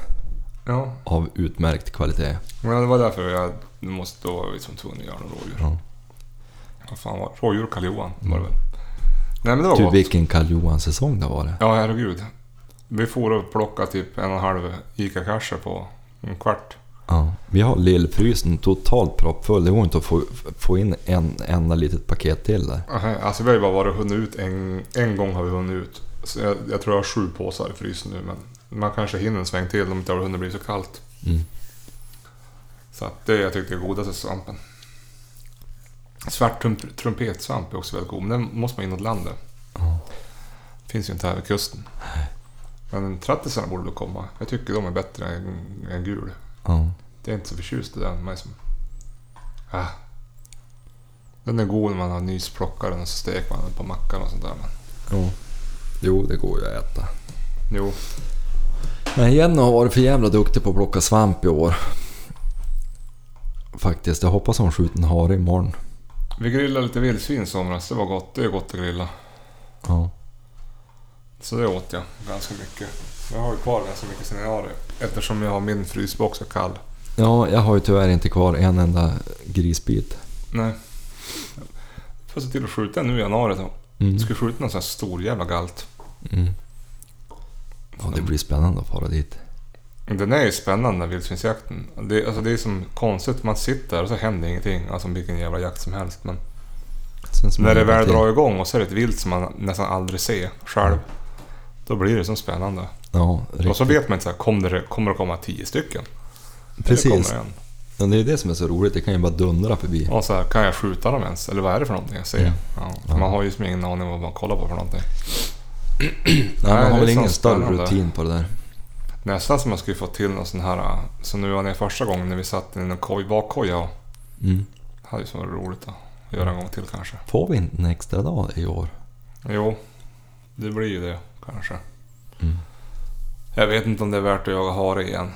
Speaker 2: Ja,
Speaker 1: av utmärkt kvalitet.
Speaker 2: men det var därför jag måste då vara liksom tvungen att göra något rådjur.
Speaker 1: Ja.
Speaker 2: Vad fan var det? Rådjur Karl-Johan var det väl? Nej men det var
Speaker 1: Du,
Speaker 2: gott.
Speaker 1: Typ vilken Karl-Johan-säsong det var det.
Speaker 2: Ja, herregud. Vi for och plockade typ en och en halv ICA-kasse på en kvart.
Speaker 1: Ja. Vi har lillfrysen totalt proppfull. Det går inte att få, få in en enda litet paket till där.
Speaker 2: Aha, Alltså vi har ju bara varit och hunnit ut en, en gång har vi hunnit ut. Så jag, jag tror jag har sju påsar i frysen nu men man kanske hinner en sväng till om det inte har hunnit bli så kallt.
Speaker 1: Mm.
Speaker 2: Så att det jag tyckte är godaste svampen. Svart trump, trumpetsvamp är också väldigt god men den måste man inåt landet.
Speaker 1: Ja.
Speaker 2: Finns ju inte här vid kusten. Men trattisarna borde väl komma. Jag tycker de är bättre än, än gul.
Speaker 1: Ja.
Speaker 2: Det är inte så förtjust i den. Man är som... Ah. Den är god när man har nyss plockat den och så steker man den på mackan och sånt där. Men,
Speaker 1: Ja. Jo, det går ju att äta.
Speaker 2: jo,
Speaker 1: Men Jenny har varit för jävla duktig på att plocka svamp i år. Faktiskt, jag hoppas hon skjuter en hare imorgon.
Speaker 2: vi grillade lite vildsvin i somras. Det var gott. Det är gott att grilla.
Speaker 1: Ja.
Speaker 2: Så det åt jag ganska mycket. Jag har ju kvar ganska mycket sen januari. Eftersom jag har min frysbox är kall.
Speaker 1: ja, jag har ju tyvärr inte kvar en enda grisbit.
Speaker 2: Nej. Jag får se till att skjuta nu i januari då.
Speaker 1: Mm.
Speaker 2: Jag ska skjuta någon sån här stor jävla galt.
Speaker 1: Mm. Ja, det blir spännande att fara dit.
Speaker 2: Den är ju spännande den här vildsvinsjakten. Det, alltså det är som konstigt. Man sitter och så händer ingenting. Alltså vilken jävla jakt som helst. Men
Speaker 1: Sen
Speaker 2: När det
Speaker 1: smäller
Speaker 2: väl
Speaker 1: till.
Speaker 2: drar igång och så är det ett vilt som man nästan aldrig ser själv. Då blir det som spännande.
Speaker 1: Ja,
Speaker 2: Och så
Speaker 1: riktigt.
Speaker 2: vet man inte så här, kommer det, kommer det komma tio stycken? Eller
Speaker 1: Precis.
Speaker 2: kommer det en?
Speaker 1: Ja, det är det som är så roligt. Det kan ju bara dundra förbi.
Speaker 2: Och så här, kan jag skjuta dem ens? Eller vad är det för någonting jag ser?
Speaker 1: Mm.
Speaker 2: Ja, för Man har ju som ingen aning vad man kollar på för någonting.
Speaker 1: Nej, man
Speaker 2: nej,
Speaker 1: har
Speaker 2: det är
Speaker 1: väl ingen
Speaker 2: så
Speaker 1: större
Speaker 2: spännande.
Speaker 1: rutin på det där.
Speaker 2: Nästan som man skulle få till någon sån här... äh, Som nu var när första gången när vi satt i en koj, bakkoja. och-
Speaker 1: Mm.
Speaker 2: Det hade ju så varit roligt att göra en gång till kanske.
Speaker 1: Får vi inte en extra dag i år?
Speaker 2: Jo, det blir ju det kanske.
Speaker 1: Mm.
Speaker 2: Jag vet inte om det är värt att jaga hare igen.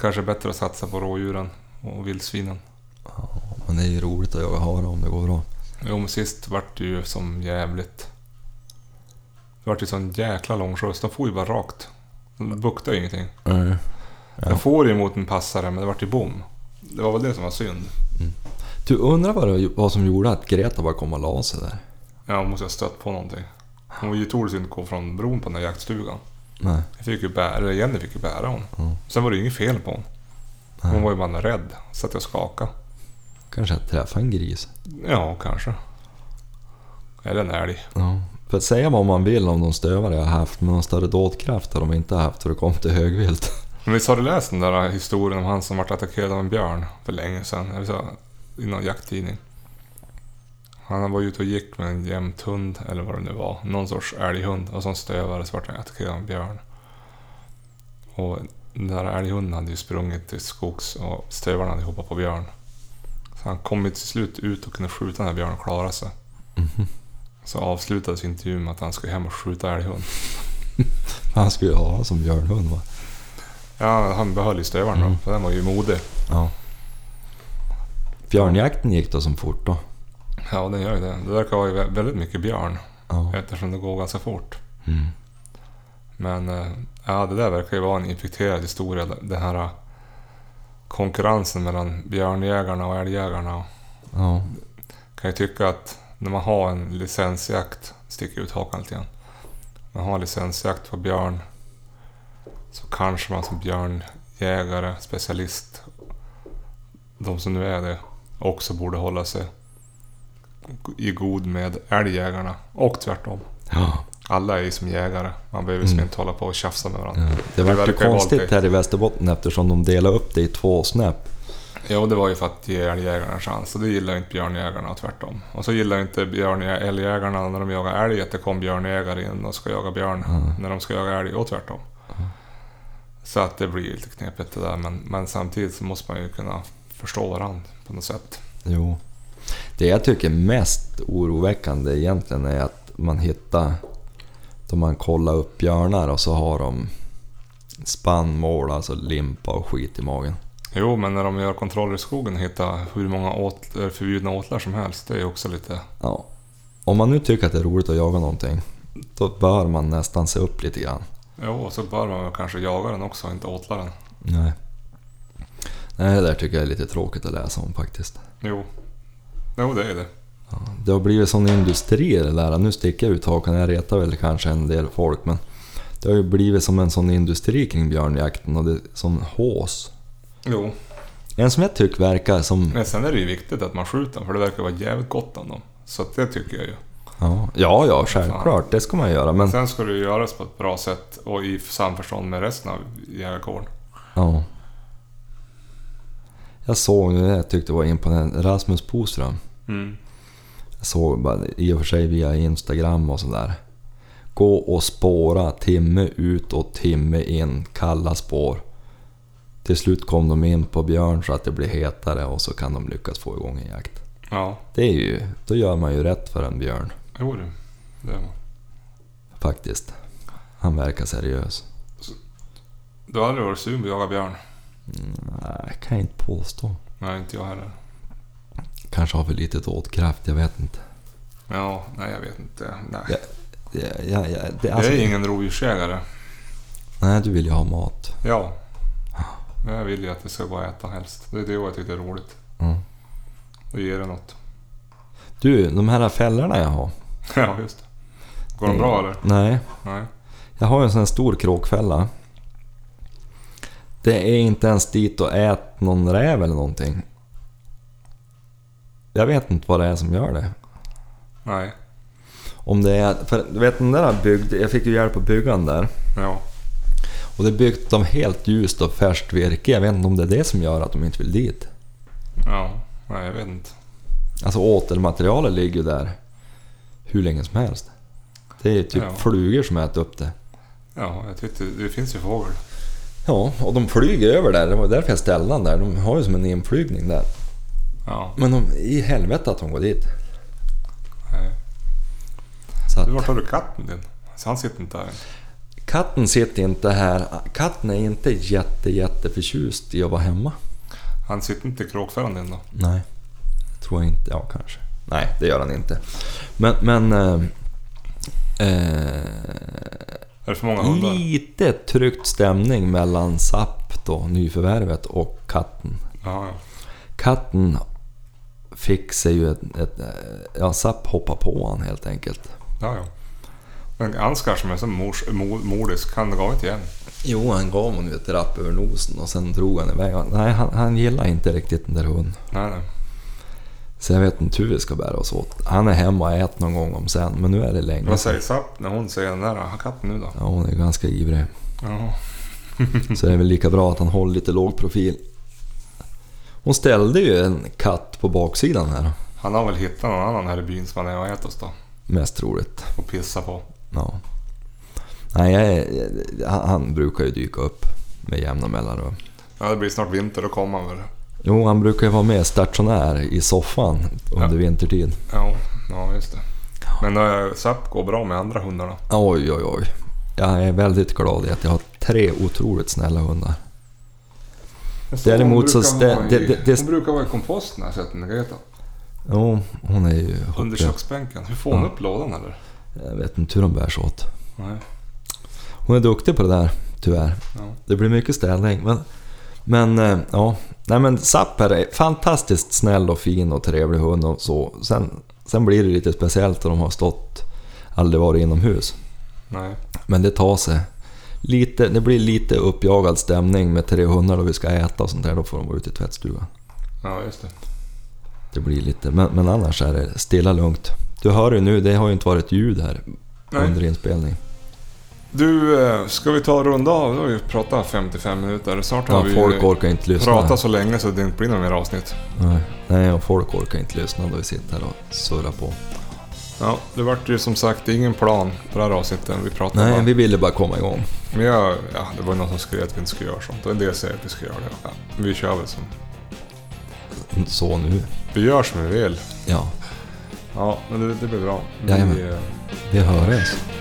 Speaker 2: Kanske bättre att satsa på rådjuren och vildsvinen.
Speaker 1: Men det är ju roligt att jaga hare om det går bra.
Speaker 2: Jo, men sist vart det ju som jävligt... Det vart ju sån jäkla lång skjuts. De for ju bara rakt. De buktade ju ingenting.
Speaker 1: Mm. Ja.
Speaker 2: De for ju mot en passare, men det vart ju bom. Det var väl det som var synd.
Speaker 1: Du undrar vad, det, vad som gjorde att Greta bara kom och la sig där?
Speaker 2: Ja, hon måste ha stött på någonting. Hon var ju otroligt inte gå från bron på den där jaktstugan.
Speaker 1: Nej.
Speaker 2: Jag fick ju bära, eller Jenny fick ju bära hon.
Speaker 1: Mm.
Speaker 2: Sen var det ju inget fel på hon.
Speaker 1: Nej.
Speaker 2: Hon var ju bara rädd. Satt jag och skakade.
Speaker 1: Kanske att träffa en gris.
Speaker 2: Ja, kanske. Eller en älg.
Speaker 1: Ja. För att säga vad man vill om de stövare jag har haft, men någon större dådkraft har de inte haft för det kom till högvilt.
Speaker 2: Men visst har du läst den där historien om han som vart attackerad av en björn för länge sedan? Eller så, I någon jakttidning. Han var ute och gick med en jämthund, eller vad det nu var. Någon sorts älghund. Och som stövare så vart han attackerad av en björn. Och den där älghunden hade ju sprungit till skogs och stövaren hade hoppat på björn. Så han kom ju till slut ut och kunde skjuta den här björnen och klara sig.
Speaker 1: Mhm.
Speaker 2: Så avslutades intervjun med att han skulle hem och skjuta älghund.
Speaker 1: Han skulle ju ha som björnhund va?
Speaker 2: Ja, han behöll ju stövaren då,
Speaker 1: Mm.
Speaker 2: för den var ju modig.
Speaker 1: Ja. Björnjakten gick då som fort då?
Speaker 2: Ja, den gör ju det. Det verkar vara ju vä- väldigt mycket björn
Speaker 1: Ja.
Speaker 2: eftersom det går ganska fort.
Speaker 1: Mm.
Speaker 2: Men eh, ja, det där verkar ju vara en infekterad historia. Den här eh, konkurrensen mellan björnjägarna och älgjägarna.
Speaker 1: Ja.
Speaker 2: Kan ju tycka att när man har en licensjakt, sticker ut hakan lite grann. Man har licensjakt på björn så kanske man som björnjägare, specialist, de som nu är det, också borde hålla sig i god med älgjägarna och tvärtom.
Speaker 1: ja.
Speaker 2: Alla är ju som jägare. Man behöver liksom inte hålla på och tjafsa med varandra.
Speaker 1: Det
Speaker 2: verkar
Speaker 1: var ju
Speaker 2: ju
Speaker 1: konstigt
Speaker 2: valt
Speaker 1: här i Västerbotten eftersom de delade upp det i två snäpp.
Speaker 2: Jo, det var ju för att ge älgjägarna en chans och det gillar ju inte björnjägarna och tvärtom. Och så gillar inte björn älgjägarna när de jagar älg att det kom björnjägare in och ska jaga björn när de ska jaga älg och tvärtom. Så att det blir ju lite knepigt det där men, men samtidigt så måste man ju kunna förstå varandra på något sätt.
Speaker 1: Jo. Det jag tycker är mest oroväckande egentligen är att man hittar... Då man kollar upp björnar och så har de spannmål, alltså limpa och skit i magen.
Speaker 2: Jo, men när de gör kontroller i skogen och hittar hur många åtl- förbjudna åtlar som helst, det är ju också lite...
Speaker 1: Ja. Om man nu tycker att det är roligt att jaga någonting, då bör man nästan se upp lite grann.
Speaker 2: Jo, och så bör man väl kanske jaga den också, inte åtla den.
Speaker 1: Nej. Nej, det där tycker jag är lite tråkigt att läsa om faktiskt.
Speaker 2: Jo. Jo, det är det.
Speaker 1: Ja. Det har blivit sån industri det där. Nu sticker jag ut hakan, jag retar väl kanske en del folk, men det har ju blivit som en sån industri kring björnjakten och det är sån hås.
Speaker 2: Jo.
Speaker 1: En som jag tycker verkar som...
Speaker 2: Men sen är det ju viktigt att man skjuter dem, för det verkar vara jävligt gott om dem. Så att det tycker jag ju.
Speaker 1: Ja, ja, ja självklart, det ska man göra, men...
Speaker 2: Sen ska det ju göras på ett bra sätt och i samförstånd med resten av jägarkåren.
Speaker 1: Ja. Jag såg nu, jag tyckte det var imponerande, Rasmus Boström.
Speaker 2: Mm.
Speaker 1: Jag såg bara, i och för sig via Instagram och sådär. Gå och spåra timme ut och timme in, kalla spår. Till slut kom de in på björn så att det blir hetare och så kan de lyckas få igång en jakt.
Speaker 2: Ja,
Speaker 1: Det är ju, då gör man ju rätt för en björn
Speaker 2: jo du. Det var.
Speaker 1: faktiskt. Han verkar seriös.
Speaker 2: Du har aldrig varit sugen på att jaga björn?
Speaker 1: Nej, kan Mm, jag inte påstå.
Speaker 2: Nej, inte jag heller.
Speaker 1: Kanske har för lite åtkraft, jag vet inte.
Speaker 2: Ja, nej jag vet inte. Nej.
Speaker 1: Ja, Jag, jag, jag, det,
Speaker 2: Jag
Speaker 1: alltså,
Speaker 2: är ingen rovdjursjägare.
Speaker 1: Nej, du vill ju ha mat.
Speaker 2: Ja. Men jag vill ju att det ska gå att äta helst. Det är det jag tycker är roligt.
Speaker 1: Mm.
Speaker 2: Och ge det något.
Speaker 1: Du, de här fällorna jag har.
Speaker 2: Ja, just det. Går de
Speaker 1: Mm.
Speaker 2: bra eller?
Speaker 1: Nej,
Speaker 2: Nej.
Speaker 1: Jag har ju en sån här stor kråkfälla. Det är inte ens dit och ät någon räv eller någonting. Jag vet inte vad det är som gör det.
Speaker 2: Nej.
Speaker 1: Om det är... För du vet den där byggd... Jag fick ju hjälp att bygga den där.
Speaker 2: Ja.
Speaker 1: Och det är byggt av helt ljust och färskt virke. Jag vet inte om det är det som gör att de inte vill dit.
Speaker 2: Ja. Nej, jag vet inte.
Speaker 1: Alltså återmaterialet ligger ju där hur länge som helst. Det är typ
Speaker 2: Ja.
Speaker 1: flugor som äter upp det.
Speaker 2: Ja, jag tyckte det finns ju fågel.
Speaker 1: Ja, och de flyger över där. Det var därför jag ställde den där. De har ju som en inflygning där.
Speaker 2: Ja.
Speaker 1: Men de, i helvete att de går dit.
Speaker 2: Nej.
Speaker 1: Så
Speaker 2: Du,
Speaker 1: att,
Speaker 2: vart har du katten din? Så han sitter inte där än.
Speaker 1: katten sitter inte här. Katten är inte jätte, jätte förtjust i att vara hemma.
Speaker 2: Han sitter inte i kråkfällan din då?
Speaker 1: Nej. Tror jag inte. Ja, kanske. Nej, det gör han inte. Men... men eh, eh,
Speaker 2: Är det för många hundar?
Speaker 1: lite tryckt stämning mellan SAP då, nyförvärvet, och katten.
Speaker 2: Ja, ja.
Speaker 1: Katten fick sig ju ett... ett eh, ja, SAP hoppade på han helt enkelt.
Speaker 2: ja, ja. Men Ansgar som är så mors, mo- mordisk, han gav inte igen.
Speaker 1: Jo, han gav honom ett rapp över nosen och sen drog han iväg. Nej, han, han gillar inte riktigt den där hunden.
Speaker 2: Nej, nej.
Speaker 1: Så jag vet inte hur vi ska bära oss åt. Han är hemma och äter någon gång om sen, men nu är det länge
Speaker 2: Vad
Speaker 1: sedan.
Speaker 2: säger Zapp när hon säger den där "Har katten nu då?
Speaker 1: Ja, hon är ganska ivrig.
Speaker 2: Ja.
Speaker 1: Så det är väl lika bra att han håller lite låg profil. Hon ställde ju en katt på baksidan här.
Speaker 2: Han har väl hittat någon annan här i byn som han är och äter oss då.
Speaker 1: Mest troligt.
Speaker 2: Och pissar på.
Speaker 1: Ja. Nej, jag är, han- han brukar ju dyka upp med jämna mellanrum.
Speaker 2: Ja, det blir snart vinter, då kommer han väl.
Speaker 1: Jo, han brukar ju vara med stationär i soffan under vintertid.
Speaker 2: Ja, ja just det. Men äh, Zapp går bra med andra hundar då?
Speaker 1: Oj, oj, oj. Jag är väldigt glad i att jag har tre otroligt snälla hundar. Däremot så
Speaker 2: Hon brukar vara
Speaker 1: stä- det- det- det-
Speaker 2: i- Hon brukar vara i komposten här, sett den Greta.
Speaker 1: Jo, hon är ju...
Speaker 2: Under köksbänken. Hur får hon upp lådan eller?
Speaker 1: Jag vet inte hur de bärs åt.
Speaker 2: Nej.
Speaker 1: Hon är duktig på det där, tyvärr.
Speaker 2: Ja.
Speaker 1: Det blir mycket städning. Men, men eh, ja. Nej men Zapper är fantastiskt snäll och fin och trevlig hund och så. Sen, sen blir det lite speciellt när de har stått, aldrig varit inomhus.
Speaker 2: Nej.
Speaker 1: Men det tar sig. Lite, det blir lite uppjagad stämning med tre hundar då vi ska äta och sånt där. Då får de vara ute i tvättstugan.
Speaker 2: Ja, just det.
Speaker 1: Det blir lite, men, men annars är det stilla lugnt. Du hör ju nu, det har ju inte varit ljud här
Speaker 2: Nej.
Speaker 1: under inspelning.
Speaker 2: Du, eh, ska vi ta och runda av? Nu har vi pratat 55 minuter. Snart har
Speaker 1: Ja,
Speaker 2: vi
Speaker 1: folk orkar inte lyssna.
Speaker 2: pratat så länge så det inte blir några mer avsnitt.
Speaker 1: Nej, Nej, och folk orkar inte lyssna då vi sitter här och surrar på.
Speaker 2: Ja, det vart ju som sagt ingen plan på det här avsnittet. Vi pratade bara.
Speaker 1: Nej, vi ville bara komma igång.
Speaker 2: Men jag, ja, det var ju någon som skrev att vi inte skulle göra sånt. Och en del säger att vi ska göra det. Ja, vi kör väl som
Speaker 1: så nu.
Speaker 2: Vi gör som vi vill.
Speaker 1: Ja,
Speaker 2: Ja, men det, det blir bra. Vi,
Speaker 1: Jajamän.
Speaker 2: eh,
Speaker 1: vi hörs.